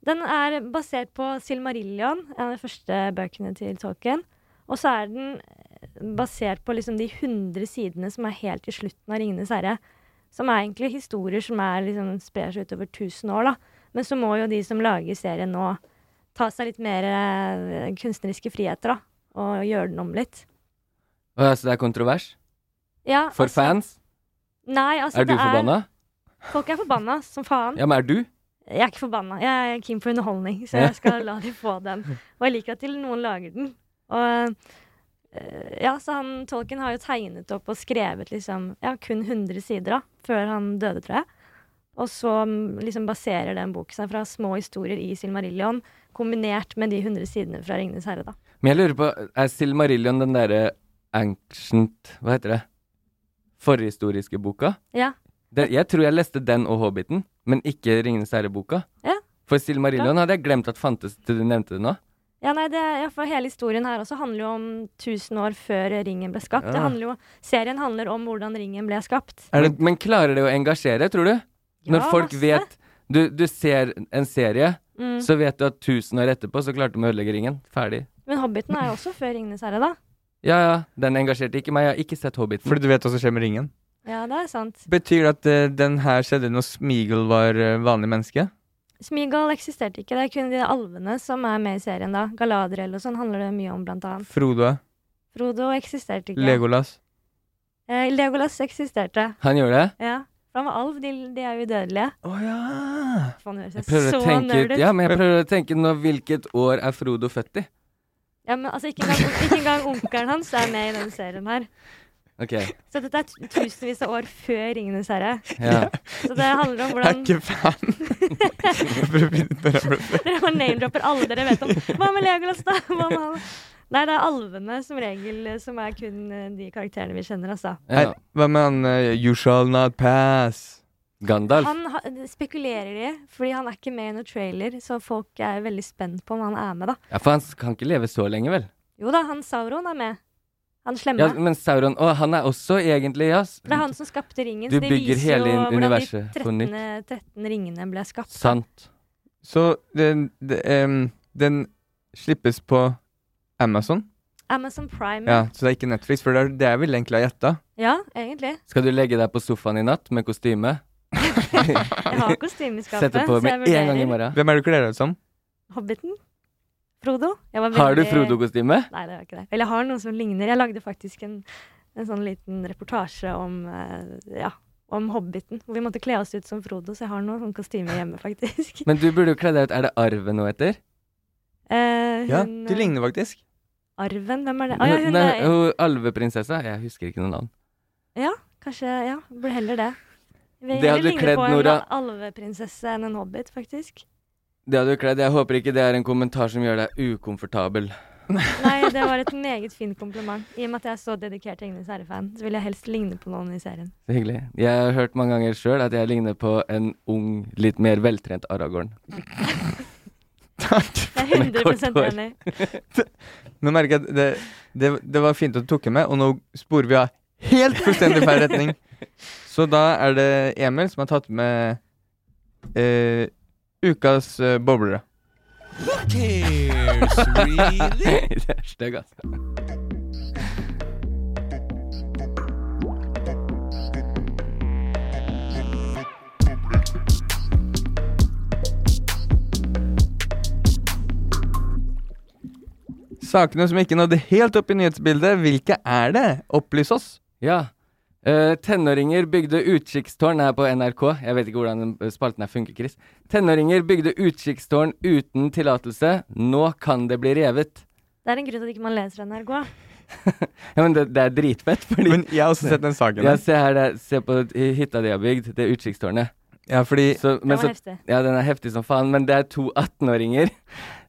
[SPEAKER 4] Den er basert på Silmarillion, en av de første bøkene til Tolkien. Og så er den eh, basert på liksom de 100 sidene som er helt i slutten av Ringenes herre. Som er egentlig historier som er liksom, sprer seg utover 1000 år, da. Men så må jo de som lager serien nå, ta seg litt mer eh, kunstneriske friheter, da. Og gjøre den om litt.
[SPEAKER 3] Å, ja, så det er kontrovers?
[SPEAKER 4] Ja,
[SPEAKER 3] For
[SPEAKER 4] altså-
[SPEAKER 3] fans?
[SPEAKER 4] Nei, altså
[SPEAKER 3] er du
[SPEAKER 4] det er-
[SPEAKER 3] forbanna?
[SPEAKER 4] Folk er forbanna som faen.
[SPEAKER 3] Ja, men er du?
[SPEAKER 4] Jeg er ikke forbanna. Jeg er keen på underholdning, så jeg skal la de få den. Og jeg liker at til noen lager den. Og eh, ja, så han Tolkien har jo tegnet opp og skrevet liksom ja, kun 100 sider da, før han døde, tror jeg. Og så mm, liksom baserer den boken seg fra små historier i Silmarillion, kombinert med de 100 sidene fra Ringenes herre, da.
[SPEAKER 3] Men jeg lurer på, er Silmarillion den derre ancient Hva heter det? Forhistoriske boka?
[SPEAKER 4] Ja.
[SPEAKER 3] Det, jeg tror jeg leste den og Hobbiten, men ikke Ringenes herre-boka.
[SPEAKER 4] Ja.
[SPEAKER 3] For Silmarillion hadde jeg glemt at fantes til du nevnte det nå.
[SPEAKER 4] Ja, nei, det, ja, for hele historien her også handler jo om 1000 år før ringen ble skapt. Det
[SPEAKER 3] Ja.
[SPEAKER 4] handler jo, serien handler om hvordan ringen ble skapt.
[SPEAKER 3] men, men klarer det å engasjere, tror du? Når folk
[SPEAKER 4] masse.
[SPEAKER 3] vet du, du ser en serie,
[SPEAKER 4] Mm.
[SPEAKER 3] så vet du at tusen år etterpå så klarte de å ødelegge ringen. Ferdig.
[SPEAKER 4] Men Hobbiten er jo også før Ringenes herre, da.
[SPEAKER 3] Ja ja, den engasjerte ikke meg. Jeg har ikke sett Hobbiten.
[SPEAKER 2] Fordi du vet hva som skjer med ringen?
[SPEAKER 4] Ja, det er sant.
[SPEAKER 2] Betyr det at eh, den her skjedde når Smeagol var eh, vanlig menneske?
[SPEAKER 4] Smeagol eksisterte ikke. Det er kun de alvene som er med i serien da. Galadriel og sånn handler det mye om, blant annet.
[SPEAKER 2] Frodo,
[SPEAKER 4] Frodo eksisterte ikke.
[SPEAKER 2] Legolas
[SPEAKER 4] Eh, Legolas eksisterte.
[SPEAKER 3] Han gjør det?
[SPEAKER 4] Ja. For han var alv. De, de er jo udødelige.
[SPEAKER 2] Å oh, ja.
[SPEAKER 4] Faen, det
[SPEAKER 3] Jeg
[SPEAKER 4] høres
[SPEAKER 3] prøver
[SPEAKER 4] så
[SPEAKER 3] å tenke ut,
[SPEAKER 4] nerd ut.
[SPEAKER 3] ja, men jeg prøver å tenke nå hvilket år er Frodo født i?
[SPEAKER 4] Ja, men altså, ikke engang, ikke engang onkelen hans er med i denne serien her.
[SPEAKER 3] Ok,
[SPEAKER 4] Så dette er tu- tusenvis av år før Ringenes herre.
[SPEAKER 3] ja.
[SPEAKER 4] Så det handler om hvordan
[SPEAKER 2] Jeg er ikke fan. Jeg prøver å finne ut når jeg ble født.
[SPEAKER 4] Dere bare name-dropper alle dere vet om. Hva med Legolas, da? Hva med han? Nei, det er alvene som regel eh, som er kun eh, de karakterene vi kjenner, altså.
[SPEAKER 2] Nei, Hva med han eh, You shall not pass?
[SPEAKER 3] Gandalf.
[SPEAKER 4] Han ha, eh, spekulerer i, fordi han er ikke med i noen trailer, så folk er veldig spent på om han er med, da.
[SPEAKER 3] Ja, for han kan ikke leve så lenge, vel?
[SPEAKER 4] Jo da, han Sauron er med. Han slemme.
[SPEAKER 3] Ja, men Sauron Å, han er også egentlig ja. s-
[SPEAKER 4] det er han som skapte ringen,
[SPEAKER 3] Du
[SPEAKER 4] så det
[SPEAKER 3] bygger
[SPEAKER 4] viser
[SPEAKER 3] hele
[SPEAKER 4] jo hvordan de
[SPEAKER 3] universet på
[SPEAKER 4] 13,
[SPEAKER 3] nytt.
[SPEAKER 4] 13 ringene ble skapt.
[SPEAKER 3] Sant.
[SPEAKER 2] Så den, de- em, den slippes på Amazon?
[SPEAKER 4] Amazon Prime.
[SPEAKER 2] Ja, Så det er ikke Netflix, for det er det jeg ville egentlig ha gjetta.
[SPEAKER 4] Ja, egentlig.
[SPEAKER 3] Skal du legge deg på sofaen i natt med kostyme?
[SPEAKER 4] Jeg har kostyme i skapet,
[SPEAKER 3] Sette på
[SPEAKER 4] så jeg
[SPEAKER 3] med en gang i
[SPEAKER 4] vurderer.
[SPEAKER 3] morgen.
[SPEAKER 2] Hvem er det du kler deg ut som?
[SPEAKER 4] Hobbiten? Frodo? Jeg var
[SPEAKER 3] Har du
[SPEAKER 4] veldig-
[SPEAKER 3] Frodo-kostyme?
[SPEAKER 4] Nei, det var ikke det. Eller jeg har noen som ligner. Jeg lagde faktisk en, en sånn liten reportasje om, eh, ja, om Hobbiten. Hvor vi måtte kle oss ut som Frodo, så jeg har noen sånne kostymer hjemme, faktisk.
[SPEAKER 3] Men du burde jo kle deg ut. Er det arven nå etter?
[SPEAKER 4] Eh,
[SPEAKER 2] Ja,
[SPEAKER 4] hun, eh,
[SPEAKER 2] du ligner faktisk.
[SPEAKER 4] Arven, hvem er det? Å ja, hun
[SPEAKER 3] Nei,
[SPEAKER 4] er
[SPEAKER 3] hun alveprinsessa. Jeg husker ikke noe navn.
[SPEAKER 4] Ja, kanskje Ja, burde heller det. Vi
[SPEAKER 3] Det hadde
[SPEAKER 4] heller ligner
[SPEAKER 3] kledd
[SPEAKER 4] på en
[SPEAKER 3] Nora.
[SPEAKER 4] alveprinsesse enn en hobbit, faktisk.
[SPEAKER 3] Det hadde du kledd. Jeg håper ikke det er en kommentar som gjør deg ukomfortabel.
[SPEAKER 4] Nei, det var et meget fin kompliment. I og med at jeg er så dedikert Ringenes herre-fan, så vil jeg helst ligne på noen i serien.
[SPEAKER 3] Så hyggelig. Jeg har hørt mange ganger sjøl at jeg ligner på en ung, litt mer veltrent Aragorn. Takk.
[SPEAKER 4] Jeg er 100
[SPEAKER 3] hår.
[SPEAKER 4] enig.
[SPEAKER 2] Nå merker jeg at det, det, det var fint at du tok henne med, og nå sporer vi av helt fullstendig feil retning. Så da er det Emil som har tatt med eh, ukas eh, boblere.
[SPEAKER 6] cares, really?
[SPEAKER 3] det er stygg, altså.
[SPEAKER 2] Sakene som ikke nådde helt opp i nyhetsbildet, hvilke er det? Opplys oss.
[SPEAKER 3] Ja. Eh, tenåringer bygde utkikkstårn her på NRK. Jeg vet ikke hvordan den eh, spalten her funker, Chris. Tenåringer bygde utkikkstårn uten tillatelse. Nå kan det bli revet.
[SPEAKER 4] Det er en grunn til at ikke man leser NRK.
[SPEAKER 3] Ja, men det, det er dritfett, fordi
[SPEAKER 2] Men jeg har også sett den saken.
[SPEAKER 3] Ja,
[SPEAKER 2] der.
[SPEAKER 3] se her, det, er- se på i hytta de har bygd, det utkikkstårnet.
[SPEAKER 2] Ja, fordi
[SPEAKER 3] Så- men
[SPEAKER 4] var
[SPEAKER 3] så-
[SPEAKER 4] heftig.
[SPEAKER 3] Ja, den er heftig som faen, men det er to 18-åringer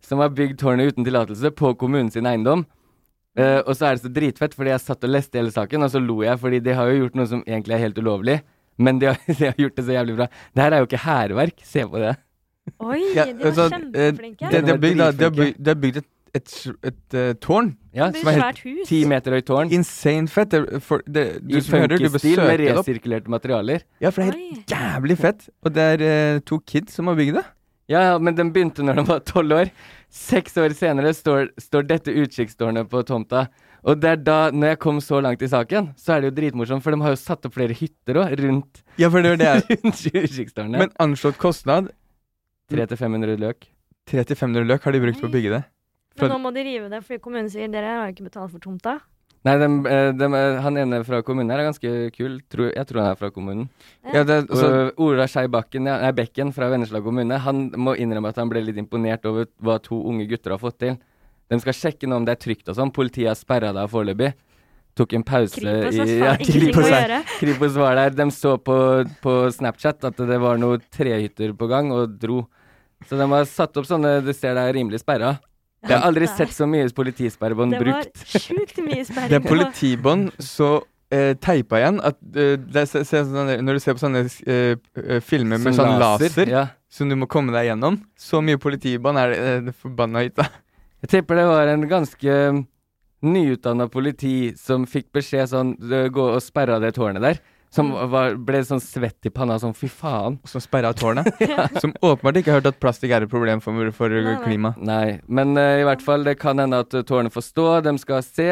[SPEAKER 3] som har bygd tårnet uten tillatelse på kommunen sin eiendom. Eh, og så er det så dritfett, fordi jeg satt og leste hele saken, og så lo jeg, fordi de har jo gjort noe som egentlig er helt ulovlig, men de har, de har gjort det så jævlig bra. Det her er jo ikke hærverk, se på det.
[SPEAKER 4] Oi,
[SPEAKER 2] Ja,
[SPEAKER 4] de var
[SPEAKER 2] altså, eh,
[SPEAKER 4] kjempeflinke.
[SPEAKER 2] Det, det, er bygd, da- det, er
[SPEAKER 3] Dritflinke.
[SPEAKER 2] bygd, det er bygd et, et, s- et eh, tårn.
[SPEAKER 3] Ja,
[SPEAKER 4] Det
[SPEAKER 3] som er helt
[SPEAKER 4] blir svært hus.
[SPEAKER 3] ti meter høyt tårn,
[SPEAKER 2] Insane fett. Det, er- for, det, du
[SPEAKER 3] i
[SPEAKER 2] som hører, du
[SPEAKER 3] funkisstil
[SPEAKER 2] besøker
[SPEAKER 3] med
[SPEAKER 2] det opp.
[SPEAKER 3] resirkulerte materialer.
[SPEAKER 2] Ja, for det er helt
[SPEAKER 4] Oi.
[SPEAKER 2] jævlig fett. Og det er eh, to kids som har bygd det.
[SPEAKER 3] Ja, ja, men den begynte når den var tolv år. Seks år senere står, står dette utkikkstårnet på tomta. Og det er da, når jeg kom så langt i saken, så er det jo dritmorsomt, for de har jo satt opp flere hytter òg, rundt,
[SPEAKER 2] Ja, for det er det jeg
[SPEAKER 3] rundt utkikkstårnet.
[SPEAKER 2] Men anslått kostnad
[SPEAKER 3] 300-500 løk.
[SPEAKER 2] 300-500 løk har de brukt på å bygge det.
[SPEAKER 4] Men nå må de rive det, fordi kommunen sier dere har jo ikke betalt for tomta.
[SPEAKER 3] Nei, dem, eh, dem, eh, han ene fra kommunen her er ganske kul. Tror, jeg tror han er fra kommunen.
[SPEAKER 2] Ja, det, er-
[SPEAKER 3] Og
[SPEAKER 2] altså,
[SPEAKER 3] Ola Skei Bakken, ja, nei, Bekken fra Vennesla kommune, han må innrømme at han ble litt imponert over hva to unge gutter har fått til. De skal sjekke nå om det er trygt og sånn. Politiet har sperra det av foreløpig. Tok en pause
[SPEAKER 4] Kripos har
[SPEAKER 3] i
[SPEAKER 4] faen ingenting å
[SPEAKER 3] er-
[SPEAKER 4] gjøre.
[SPEAKER 3] Kripos var der. De så på, på Snapchat at det var noen trehytter på gang, og dro. Så de har satt opp sånne Du ser det er rimelig sperra. Jeg har aldri
[SPEAKER 4] Nei.
[SPEAKER 3] sett så mye politisperrebånd
[SPEAKER 4] Det var
[SPEAKER 3] Sånn brukt.
[SPEAKER 4] sjukt mye sperring.
[SPEAKER 2] det er politibånd så eh, teipa igjen at eh, det, er se, se, sånn der- Når du ser på sånne eh, eh, filmer med
[SPEAKER 3] Som
[SPEAKER 2] sånn laser,
[SPEAKER 3] Ja.
[SPEAKER 2] som du må komme deg gjennom Så mye politibånd er det eh, det forbanna hytta.
[SPEAKER 3] Jeg tipper det var en ganske nyutdanna politi som fikk beskjed sånn «Du, Gå og sperre av det tårnet der. Som
[SPEAKER 4] Mm.
[SPEAKER 3] var, ble sånn svett i panna, sånn fy faen.
[SPEAKER 2] Som sperra av tårnet. Som åpenbart ikke har hørt at plastikk er et problem for, for
[SPEAKER 4] nei.
[SPEAKER 2] klima.
[SPEAKER 3] Nei, men eh, i hvert fall, det kan hende at eh, tårnet får stå, de skal se.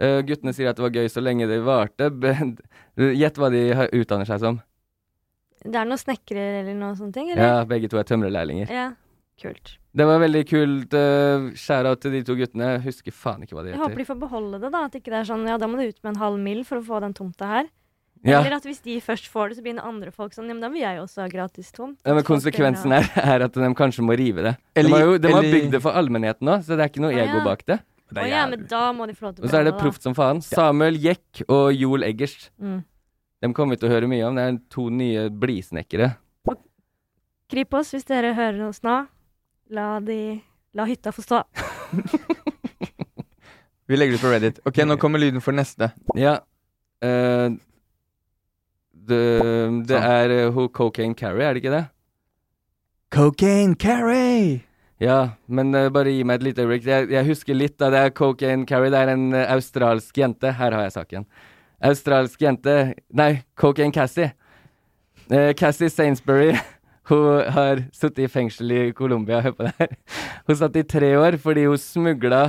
[SPEAKER 3] Eh, guttene sier at det var gøy så lenge det varte. men eh, Gjett hva de har- utdanner seg som.
[SPEAKER 4] Det er noen snekkere eller noe sånne ting, eller?
[SPEAKER 3] Ja, begge to er tømrerlærlinger.
[SPEAKER 4] Ja. Kult.
[SPEAKER 3] Det var veldig kult. Uh, Skjæra til de to guttene. Jeg husker faen ikke hva de
[SPEAKER 4] Jeg håper
[SPEAKER 3] heter.
[SPEAKER 4] de får beholde det, da. At ikke det er sånn ja, da må du ut med en halv mil for å få den tomta her.
[SPEAKER 3] Ja.
[SPEAKER 4] Eller at hvis de først får det, så begynner andre folk sånn ja, men da vil jeg jo også ha gratis tomt.
[SPEAKER 3] Ja, men konsekvensen er, er at de kanskje må rive det. De
[SPEAKER 2] Eller-
[SPEAKER 3] har, jo, de har
[SPEAKER 2] eller-
[SPEAKER 3] bygd det for allmennheten òg, så det er ikke noe
[SPEAKER 4] Å, ja.
[SPEAKER 3] ego bak det.
[SPEAKER 4] Å ja, men da må de få lov til
[SPEAKER 3] Og
[SPEAKER 4] å
[SPEAKER 3] så er det
[SPEAKER 4] beholde
[SPEAKER 3] proft som faen. Samuel Jekk og Joel Eggers.
[SPEAKER 4] Mm.
[SPEAKER 3] De kommer vi til å høre mye om. Det er to nye blisnekkere.
[SPEAKER 4] Kripos, hvis dere hører oss nå, la de La hytta få stå.
[SPEAKER 2] Vi legger det på Reddit. Ok, nå kommer lyden for neste.
[SPEAKER 3] Ja. eh, det,
[SPEAKER 2] Sånn.
[SPEAKER 3] det er eh, ho Cocaine Carrie, er det ikke det?
[SPEAKER 2] Cocaine Carrie!
[SPEAKER 3] Ja, men eh, bare gi meg et lite øyeblikk. Jeg, jeg husker litt da det er Cocaine Carrie. Det er en eh, australsk jente. Her har jeg saken. Australsk jente Nei, Cocaine Cassie. Eh, Cassie Sainsbury. Hun har sittet i fengsel i Colombia. Hør på det her. Hun satt i tre år fordi hun smugla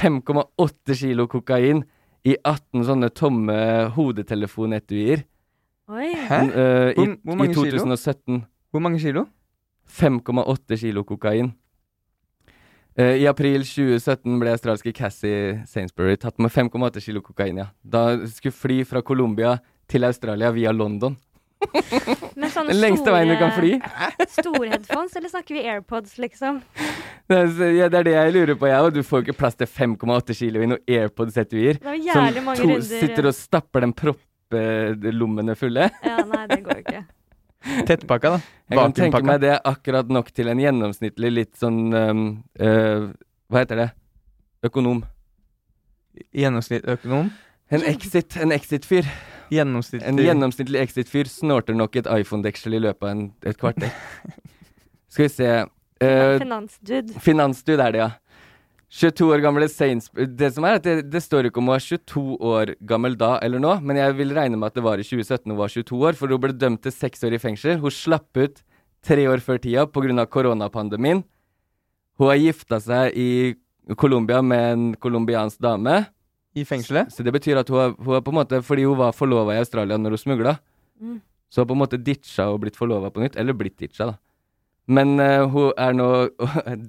[SPEAKER 3] 5,8 kilo kokain i 18 sånne tomme hodetelefonetuier.
[SPEAKER 4] Oi.
[SPEAKER 2] Hæ?
[SPEAKER 3] Eh, i,
[SPEAKER 2] Hvor- hvor mange
[SPEAKER 3] I
[SPEAKER 2] kilo?
[SPEAKER 3] 2017.
[SPEAKER 2] Hvor mange kilo?
[SPEAKER 3] 5,8 kilo kokain. Eh, I april 2017 ble australske Cassie Sainsbury tatt med 5,8 kilo kokain. ja. Da hun skulle fly fra Colombia til Australia via London.
[SPEAKER 4] Men sånne
[SPEAKER 3] Den lengste veien du kan fly.
[SPEAKER 4] Store headphones, eller snakker vi AirPods, liksom?
[SPEAKER 3] Det er, så- ja, det er det jeg lurer på, jeg òg. Du får jo ikke plass til 5,8 kilo i noen AirPods-etuier.
[SPEAKER 4] Det er jo
[SPEAKER 3] Som
[SPEAKER 4] jævlig mange
[SPEAKER 3] to-
[SPEAKER 4] runder.
[SPEAKER 3] sitter og stapper den propplommene fulle.
[SPEAKER 4] Ja, nei, det går jo ikke.
[SPEAKER 3] Eh,
[SPEAKER 2] Tettpakka, da.
[SPEAKER 3] Jeg kan tenke meg
[SPEAKER 2] Vakuumpakka.
[SPEAKER 3] det er akkurat nok til en gjennomsnittlig litt sånn um, eh, Hva heter det? Økonom.
[SPEAKER 2] Gjennomsnittsøkonom.
[SPEAKER 3] En exit. En exit-fyr.
[SPEAKER 2] Gjennomsnittlig
[SPEAKER 3] En gjennomsnittlig Exit-fyr snorter nok et iPhone-deksel i løpet av en, et kvarter. Skal vi se uh,
[SPEAKER 4] Finansdude.
[SPEAKER 3] Finansdude er det, ja. 22 år gamle Saints Det som er at det, det står ikke om hun er 22 år gammel da eller nå, men jeg vil regne med at det var i 2017 hun var 22 år, for hun ble dømt til seks år i fengsel. Hun slapp ut tre år før tida pga. koronapandemien. Hun har gifta seg i Colombia med en colombiansk dame.
[SPEAKER 2] I fengselet?
[SPEAKER 3] Så det betyr at hun har, hun har på en måte Fordi hun var forlova i Australia når hun smugla,
[SPEAKER 4] Mm.
[SPEAKER 3] så hun har på en måte ditcha og blitt forlova på nytt. Eller blitt ditcha, da. Men eh, hun er nå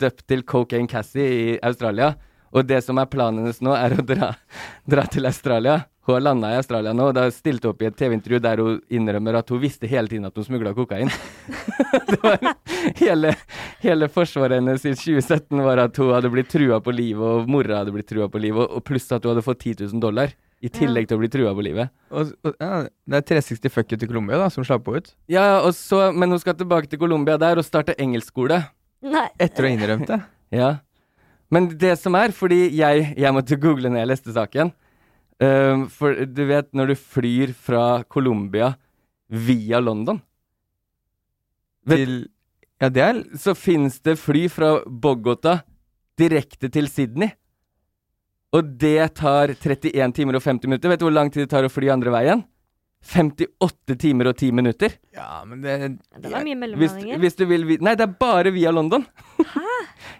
[SPEAKER 3] døpt til Cocaine Cassie i Australia Og det som er planen hennes nå, er å dra, dra til Australia. Hun har landa i Australia nå, og da stilte hun opp i et TV-intervju der hun innrømmer at hun visste hele tiden at hun smugla kokain. det var hele, hele forsvaret hennes i 2017 var at hun hadde blitt trua på livet, og mora hadde blitt trua på livet, og- og pluss at hun hadde fått 10 000 dollar. I tillegg til å bli trua på livet.
[SPEAKER 2] Og, og, ja, det er 360 fuck you til Colombia da, som slapp henne ut.
[SPEAKER 3] Ja, og så, Men hun skal tilbake til Colombia der og starte engelskskole.
[SPEAKER 4] Nei.
[SPEAKER 2] Etter å ha innrømt det.
[SPEAKER 3] Ja. Men det som er, fordi jeg, jeg måtte google når jeg leste saken Ehm, For du vet når du flyr fra Colombia via London
[SPEAKER 2] Til Ja, det er
[SPEAKER 3] Så finnes det fly fra Bogota direkte til Sydney. Og det tar 31 timer og 50 minutter. Vet du hvor lang tid det tar å fly andre veien? 58 timer og 10 minutter.
[SPEAKER 2] Ja, men det
[SPEAKER 4] Det var mye
[SPEAKER 3] Hvis,
[SPEAKER 4] mellomlandinger.
[SPEAKER 3] hvis du vil vi- Nei, det er bare via London.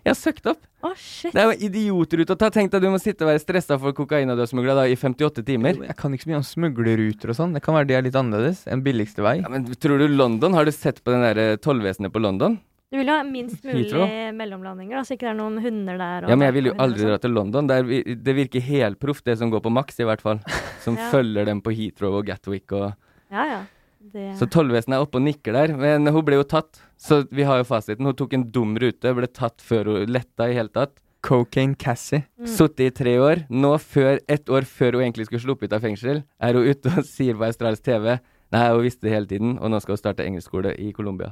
[SPEAKER 3] Jeg har søkt opp.
[SPEAKER 4] Å, shit.
[SPEAKER 3] Det er jo idiotrute å ta. Tenk deg du må sitte og være stressa for kokaina du har smugla da, i 58 timer.
[SPEAKER 2] Jeg kan ikke så mye om smuglerruter og sånn. Det kan være de er litt annerledes enn billigste vei.
[SPEAKER 3] Ja, men tror du London? Har du sett på den der eh, tollvesenet på London?
[SPEAKER 4] Du vil jo ha minst mulig
[SPEAKER 3] Heathrow.
[SPEAKER 4] mellomlandinger, da, så ikke det er noen hunder der. og-
[SPEAKER 3] Ja, men jeg vil jo
[SPEAKER 4] hunder og
[SPEAKER 3] aldri dra til London. Det, er, vi- det virker helproft, det som går på Max, i hvert fall. Som
[SPEAKER 4] Ja.
[SPEAKER 3] følger dem på Heathrow og Gatwick og
[SPEAKER 4] sånn. Ja, ja. Det...
[SPEAKER 3] Så tollvesenet er oppe og nikker der. Men hun ble jo tatt, så vi har jo fasiten. Hun tok en dum rute, ble tatt før hun letta i hele tatt.
[SPEAKER 2] Cocaine Cassie.
[SPEAKER 4] Mm.
[SPEAKER 3] Sittet i tre år. Nå, før, ett år før hun egentlig skulle sluppet ut av fengsel, er hun ute og sier på australsk TV Nei, hun visste det hele tiden, og nå skal hun starte engelskskole i Colombia.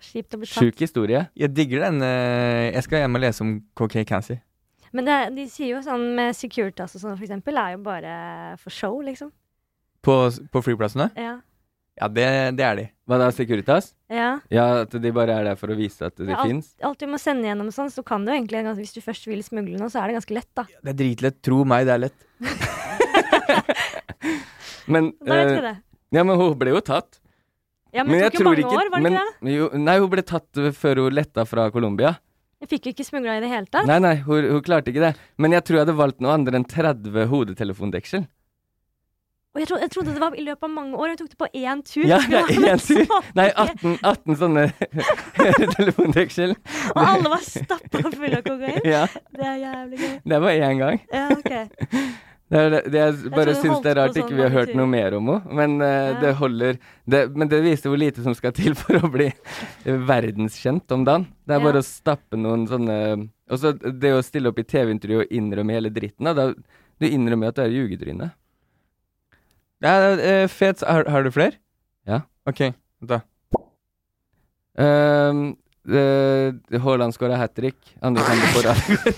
[SPEAKER 4] Kjipt å bli tatt.
[SPEAKER 3] Sjuk historie.
[SPEAKER 2] Jeg digger den. eh, Jeg skal hjem og lese om Cocaine Cassie.
[SPEAKER 4] Men det, er- de sier jo sånn med Securitas og sånn for eksempel, er jo bare for show, liksom.
[SPEAKER 2] På, på flyplassene?
[SPEAKER 4] Ja.
[SPEAKER 2] Ja, det, det er de.
[SPEAKER 3] Hva da, Securitas?
[SPEAKER 4] ja.
[SPEAKER 3] Ja, at de bare er der for å vise at det
[SPEAKER 4] Ja, alt,
[SPEAKER 3] fins?
[SPEAKER 4] alt du må sende gjennom og sånn, så kan du jo egentlig gans- Hvis du først vil smugle noe, så er det ganske lett, da.
[SPEAKER 2] Det er dritlett. Tro meg, det er lett.
[SPEAKER 3] Men,
[SPEAKER 4] Da vet vi
[SPEAKER 3] eh,
[SPEAKER 4] det.
[SPEAKER 3] Ja, men hun ble jo tatt.
[SPEAKER 4] Ja, men, det tok jo mange år, var det
[SPEAKER 3] men-
[SPEAKER 4] ikke det?
[SPEAKER 3] Jo, nei, hun ble tatt eh, før hun letta fra Colombia.
[SPEAKER 4] Jeg fikk jo ikke smugla i det hele tatt.
[SPEAKER 3] Nei, nei, hun, hun klarte ikke det. Men jeg tror jeg hadde valgt noe andre enn 30 hodetelefondeksel.
[SPEAKER 4] Og jeg, tro, jeg trodde det var i løpet av mange år. Jeg tok det på én tur.
[SPEAKER 3] Ja,
[SPEAKER 4] Skulle
[SPEAKER 3] nei,
[SPEAKER 4] ha sånn. med
[SPEAKER 3] én tur.
[SPEAKER 4] smak.
[SPEAKER 3] Nei, 18, 18 sånne telefondeksel.
[SPEAKER 4] Og alle var stappa fulle av kokain.
[SPEAKER 3] Ja.
[SPEAKER 4] Det er jævlig gøy.
[SPEAKER 3] Det var én gang.
[SPEAKER 4] Ja, ok.
[SPEAKER 3] Det er, det, det jeg bare
[SPEAKER 4] trodde det
[SPEAKER 3] syns det er
[SPEAKER 4] holdt
[SPEAKER 3] rart
[SPEAKER 4] på
[SPEAKER 3] ikke
[SPEAKER 4] sånn
[SPEAKER 3] vi har
[SPEAKER 4] mange
[SPEAKER 3] hørt noe
[SPEAKER 4] timer.
[SPEAKER 3] mer om henne. Men eh,
[SPEAKER 4] Ja.
[SPEAKER 3] det holder det, Men det viser hvor lite som skal til for å bli eh, verdenskjent om dagen. Det er
[SPEAKER 4] Ja.
[SPEAKER 3] bare å stappe noen sånne Og så det å stille opp i TV-intervju og innrømme hele dritten. Da, da, du innrømmer at du er jugetryne.
[SPEAKER 2] Ja, eh, fet har, har du flere?
[SPEAKER 3] Ja.
[SPEAKER 2] OK, vent da.
[SPEAKER 3] Ehm, eh, Haaland skåra hat trick. Andre kamp på rad.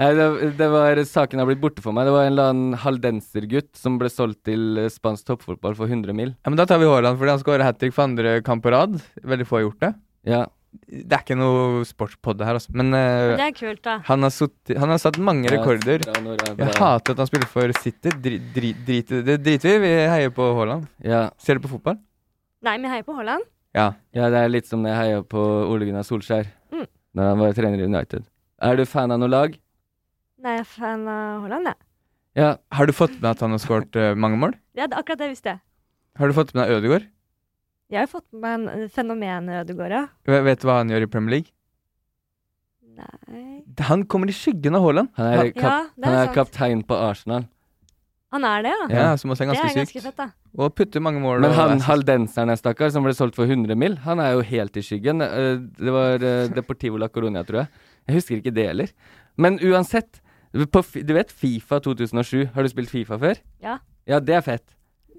[SPEAKER 3] Nei, det, det var, saken har blitt borte for meg. Det var en eller annen haldensergutt som ble solgt til eh, spansk toppfotball for 100 mil.
[SPEAKER 2] Ja, men Da tar vi Haaland, fordi han skårer hat trick for andre kamp på rad. Veldig få har gjort det.
[SPEAKER 3] Ja.
[SPEAKER 2] Det er ikke noe sportspod her, altså. Men eh,
[SPEAKER 4] Men Det er kult, da.
[SPEAKER 2] han, har sutt- han har satt mange
[SPEAKER 3] Ja,
[SPEAKER 2] rekorder.
[SPEAKER 3] bra, Nora, bra.
[SPEAKER 2] Jeg hater at han spiller for City. Dri, dri, drit, i det Det driter vi i. Vi heier på Haaland.
[SPEAKER 3] Ja.
[SPEAKER 2] Ser du på fotball?
[SPEAKER 4] Nei, men jeg heier på Haaland.
[SPEAKER 2] Ja.
[SPEAKER 3] ja, det er litt som når jeg heia på Ole Gunnar Solskjær
[SPEAKER 4] Mm.
[SPEAKER 3] Når han var trener i United. Er du fan av noe lag?
[SPEAKER 4] Nei, jeg er fan av Haaland, jeg.
[SPEAKER 3] Ja.
[SPEAKER 2] Har du fått med at han har skåret eh, mange mål?
[SPEAKER 4] Ja, det- akkurat det visste jeg.
[SPEAKER 2] Har du fått med deg Ødegaard?
[SPEAKER 4] Jeg har jo fått med meg en- fenomenet Ødegaard, ja.
[SPEAKER 2] V- Vet du hva han gjør i Premier League?
[SPEAKER 4] Nei
[SPEAKER 2] Han kommer i skyggen av Haaland.
[SPEAKER 3] Han er, kap
[SPEAKER 4] Ja, det er
[SPEAKER 3] han er
[SPEAKER 4] sant.
[SPEAKER 3] kaptein på Arsenal.
[SPEAKER 4] Han er det, ja.
[SPEAKER 2] Ja, som også er
[SPEAKER 4] det er
[SPEAKER 2] ganske
[SPEAKER 4] ganske
[SPEAKER 2] sykt.
[SPEAKER 4] fett, da.
[SPEAKER 2] Og putter mange mål.
[SPEAKER 3] Men
[SPEAKER 2] og
[SPEAKER 3] han
[SPEAKER 2] assist.
[SPEAKER 3] haldenseren, jeg stakkar, som ble solgt for 100 mil, han er jo helt i skyggen. Eh, Det var eh, Deportivo La Coronia, tror jeg. Jeg husker ikke det heller. Men uansett, på, Fi- du vet Fifa 2007, har du spilt Fifa før?
[SPEAKER 4] Ja.
[SPEAKER 3] Ja, det er fett.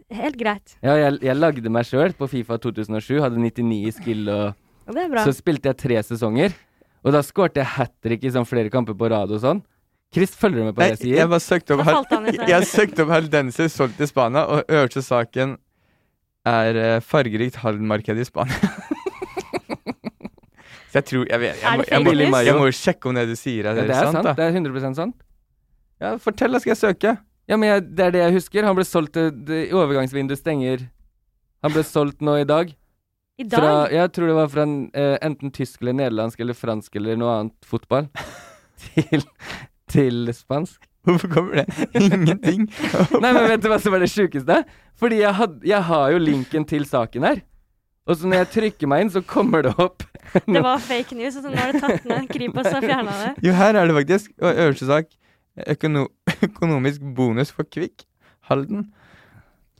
[SPEAKER 4] Helt greit.
[SPEAKER 3] Ja, jeg, jeg lagde meg sjøl på Fifa 2007, hadde 99 i skill og
[SPEAKER 4] Og det er bra.
[SPEAKER 3] Så spilte jeg tre sesonger, og da skårte jeg hat trick i sånn flere kamper på rad og sånn. Chris, følger du med på
[SPEAKER 2] Nei,
[SPEAKER 3] det jeg sier?
[SPEAKER 2] jeg bare søkte opp
[SPEAKER 4] Da falt han i søvn.
[SPEAKER 2] Jeg søkte opp Haldenser solgt til Spania, og øverste saken er eh, fargerikt halvmarked i Spania. Så jeg tror Jeg vet
[SPEAKER 4] Er
[SPEAKER 2] Jeg må,
[SPEAKER 4] det
[SPEAKER 2] jeg må,
[SPEAKER 3] fake news?
[SPEAKER 2] jeg må jo sjekke om det du sier, er,
[SPEAKER 3] ja, det er sant,
[SPEAKER 2] da.
[SPEAKER 3] det er 100 sant.
[SPEAKER 2] Ja, fortell, da skal jeg søke.
[SPEAKER 3] Ja, men jeg, det er det jeg husker. Han ble solgt eh, det- Overgangsvinduet stenger Han ble solgt nå i dag.
[SPEAKER 4] I dag
[SPEAKER 3] Fra, jeg tror det var fra en, eh, enten tysk eller nederlandsk eller fransk eller noe annet fotball til, til spansk.
[SPEAKER 2] Hvorfor kommer det ingenting?
[SPEAKER 3] Nei, men vet du hva som er det sjukeste? Fordi jeg, had, jeg har jo linken til saken her. Og så når jeg trykker meg inn, så kommer det opp.
[SPEAKER 4] Det var fake news, og så nå har det tatt ned. Kripos har fjerna det.
[SPEAKER 2] Jo, her er det faktisk, og øverste sak, økono økonomisk bonus for Kvikk Halden.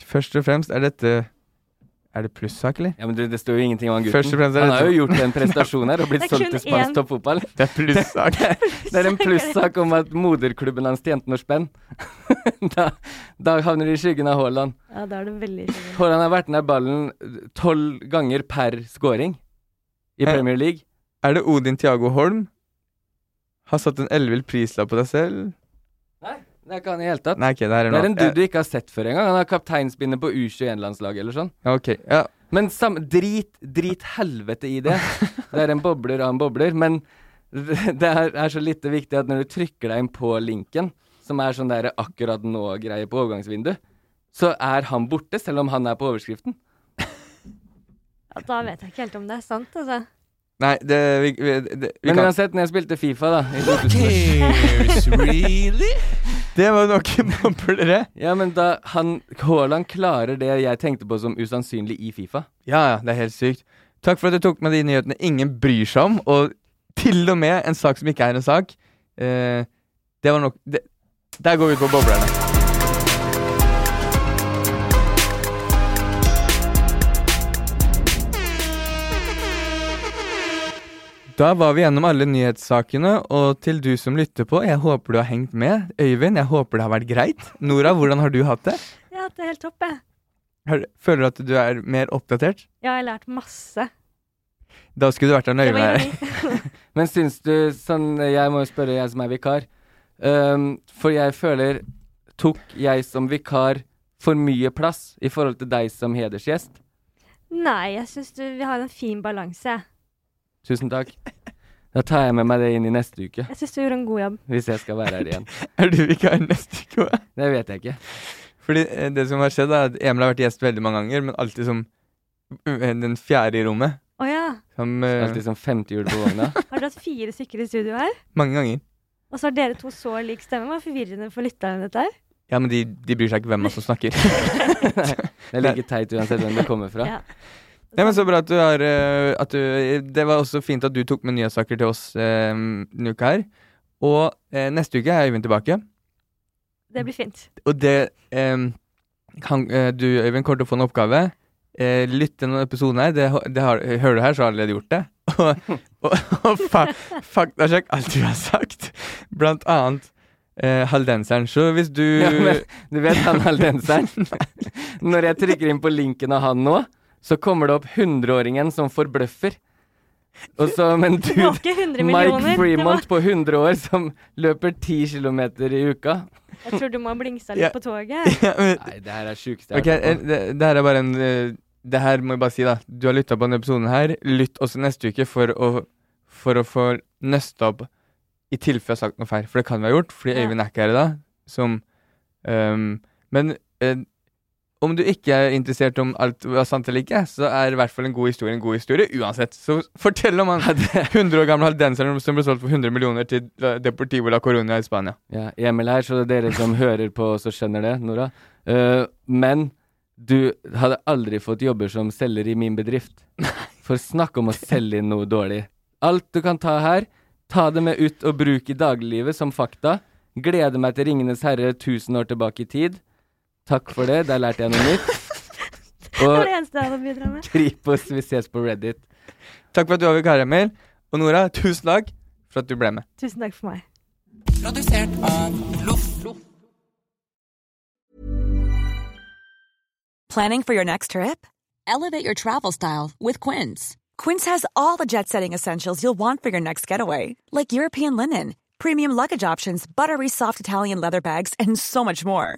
[SPEAKER 2] Først og fremst er dette Er det plussak, eller?
[SPEAKER 3] Ja, men det, det står jo ingenting om han gutten.
[SPEAKER 2] Først og fremst er
[SPEAKER 3] han
[SPEAKER 2] det
[SPEAKER 3] har
[SPEAKER 2] to-
[SPEAKER 3] jo gjort en prestasjon her og blitt
[SPEAKER 4] Det er
[SPEAKER 3] solgt
[SPEAKER 4] kun
[SPEAKER 3] til spansk
[SPEAKER 4] én.
[SPEAKER 3] toppfotball.
[SPEAKER 2] Det er plussak.
[SPEAKER 3] Det er en plussak om at moderklubben hans tjente noe spenn. da, da havner de i skyggen av Haaland.
[SPEAKER 4] Ja, da er det veldig skjønt.
[SPEAKER 3] Haaland har vært nær ballen tolv ganger per scoring i
[SPEAKER 2] Eh,
[SPEAKER 3] Premier League.
[SPEAKER 2] Er det Odin Tiago Holm? Har satt en ellevill prislapp på deg selv?
[SPEAKER 3] Det er ikke han i hele tatt.
[SPEAKER 2] Nei, eh. ok, det her er
[SPEAKER 3] Det er en dude du
[SPEAKER 2] Jeg-
[SPEAKER 3] ikke har sett før engang. Han har kapteinspinnet på U21-landslaget eller sånn.
[SPEAKER 2] Ja, ok, ja.
[SPEAKER 3] Men sam drit, drit helvete i det. Det er en bobler av en bobler. Men det er, er så lite viktig at når du trykker deg inn på linken, som er sånn der akkurat nå-greie på overgangsvindu, så er han borte, selv om han er på overskriften.
[SPEAKER 4] Ja, da vet jeg ikke helt om det er sant, altså.
[SPEAKER 2] Nei, det vi, vi, det, vi
[SPEAKER 3] Men
[SPEAKER 2] kan
[SPEAKER 3] uansett, når jeg spilte Fifa, da i 2000
[SPEAKER 2] Det var noen boblere.
[SPEAKER 3] Ja, men da han Haaland klarer det jeg tenkte på som usannsynlig i Fifa.
[SPEAKER 2] Ja, ja, det er helt sykt. Takk for at du tok med de nyhetene ingen bryr seg om, og til og med en sak som ikke er en sak. Eh, det var nok det, Der går vi ut på boblerne. Da var vi gjennom alle nyhetssakene, og til du som lytter på, jeg håper du har hengt med. Øyvind, jeg håper det har vært greit. Nora, hvordan har du hatt det?
[SPEAKER 4] Jeg har hatt det helt topp, jeg.
[SPEAKER 2] Har du- Føler du at du er mer oppdatert?
[SPEAKER 4] Ja, jeg har lært masse.
[SPEAKER 2] Da skulle du vært der når
[SPEAKER 4] Det var
[SPEAKER 2] Øyvind er
[SPEAKER 3] Men syns du sånn Jeg må jo spørre jeg som er vikar. Ehm, for jeg føler Tok jeg som vikar for mye plass i forhold til deg som hedersgjest?
[SPEAKER 4] Nei, jeg syns vi har en fin balanse. jeg.
[SPEAKER 3] Tusen takk. Da tar jeg med meg det inn i neste uke,
[SPEAKER 4] Jeg syns du gjorde en god jobb.
[SPEAKER 3] hvis jeg skal være her igjen.
[SPEAKER 2] Er du vikar neste uke? også?
[SPEAKER 3] Det vet jeg ikke.
[SPEAKER 2] Fordi eh, det som har skjedd, er at Emil har vært gjest veldig mange ganger, men alltid som eh, den fjerde i rommet.
[SPEAKER 4] Å ja.
[SPEAKER 2] Som, eh,
[SPEAKER 3] Alltid som femte hjul på vogna.
[SPEAKER 4] Har du hatt fire stykker i studio her?
[SPEAKER 2] Mange ganger.
[SPEAKER 4] Og så har dere to så lik stemme. Hva er forvirrende for lytteren, dette her?
[SPEAKER 2] Ja, men de, de bryr seg ikke hvem av oss som snakker.
[SPEAKER 3] Det er like teit uansett hvem det kommer fra.
[SPEAKER 4] Ja.
[SPEAKER 2] Nei, men Så bra at du har eh, at du, Det var også fint at du tok med nyhetssaker til oss eh, denne uka her. Og eh, neste uke er Øyvind tilbake.
[SPEAKER 4] Det blir fint.
[SPEAKER 2] Og det eh, kan, eh, Du, Øyvind, kommer til å få en oppgave. Eh, lytt til denne episoden her. Det, har- det har, hører du her, så har jeg allerede gjort det. Og, og, og fa faktasjekk alt du har sagt. Blant annet eh, haldenseren. Så hvis du
[SPEAKER 3] Ja, men, du vet han haldenseren? Når jeg trykker inn på linken av han nå, så kommer det opp 100-åringen som forbløffer. Og så, men
[SPEAKER 4] Det var
[SPEAKER 3] dude,
[SPEAKER 4] ikke 100 millioner.
[SPEAKER 3] Mike
[SPEAKER 4] det
[SPEAKER 3] Fremont på 100 år som løper 10 km i uka.
[SPEAKER 4] Var, jeg tror du må ha blingsa
[SPEAKER 2] Ja.
[SPEAKER 4] litt på toget.
[SPEAKER 2] Ja, men-
[SPEAKER 3] Nei, det her er sjukeste
[SPEAKER 2] Ok,
[SPEAKER 3] jeg har
[SPEAKER 2] eh,
[SPEAKER 3] hørt.
[SPEAKER 2] det, det her er bare en eh, Det her må jeg bare si, da. Du har lytta på denne episoden her. Lytt også neste uke for å, for å få nøsta opp i tilfelle jeg har sagt noe feil. For det kan vi ha gjort, fordi
[SPEAKER 4] Ja.
[SPEAKER 2] Øyvind er ikke her i dag. Som ehm, Men eh, om du ikke er interessert om alt var sant eller ikke, så er i hvert fall en god historie en god historie uansett. Så fortell om han 100 år gamle haldenseren som ble solgt for 100 millioner til eh, Deportivo la Corona i Spania.
[SPEAKER 3] Ja, Emil her, så dere som hører på, så skjønner det, Nora. Eh, men du hadde aldri fått jobber som selger i min bedrift. For snakk om å selge inn noe dårlig. Alt du kan ta her, ta det med ut og bruk i dagliglivet som fakta. Gleder meg til Ringenes herre 1000 år tilbake i tid. Takk for det, der lærte jeg noe nytt.
[SPEAKER 4] Det var
[SPEAKER 3] Og
[SPEAKER 4] det eneste jeg hadde å bidra med.
[SPEAKER 3] Kripos, vi ses på Reddit.
[SPEAKER 2] Takk for at du var vikar, Emil. Og Nora, tusen takk for at du ble med.
[SPEAKER 4] Tusen takk for meg.
[SPEAKER 6] Produsert av Loff.
[SPEAKER 7] Planning for your next trip? Elevate your travel style with Quince. Quince has all the jet setting essentials you'll want for your next getaway, like European linen, premium luggage options, buttery soft Italian leather bags, and so much more.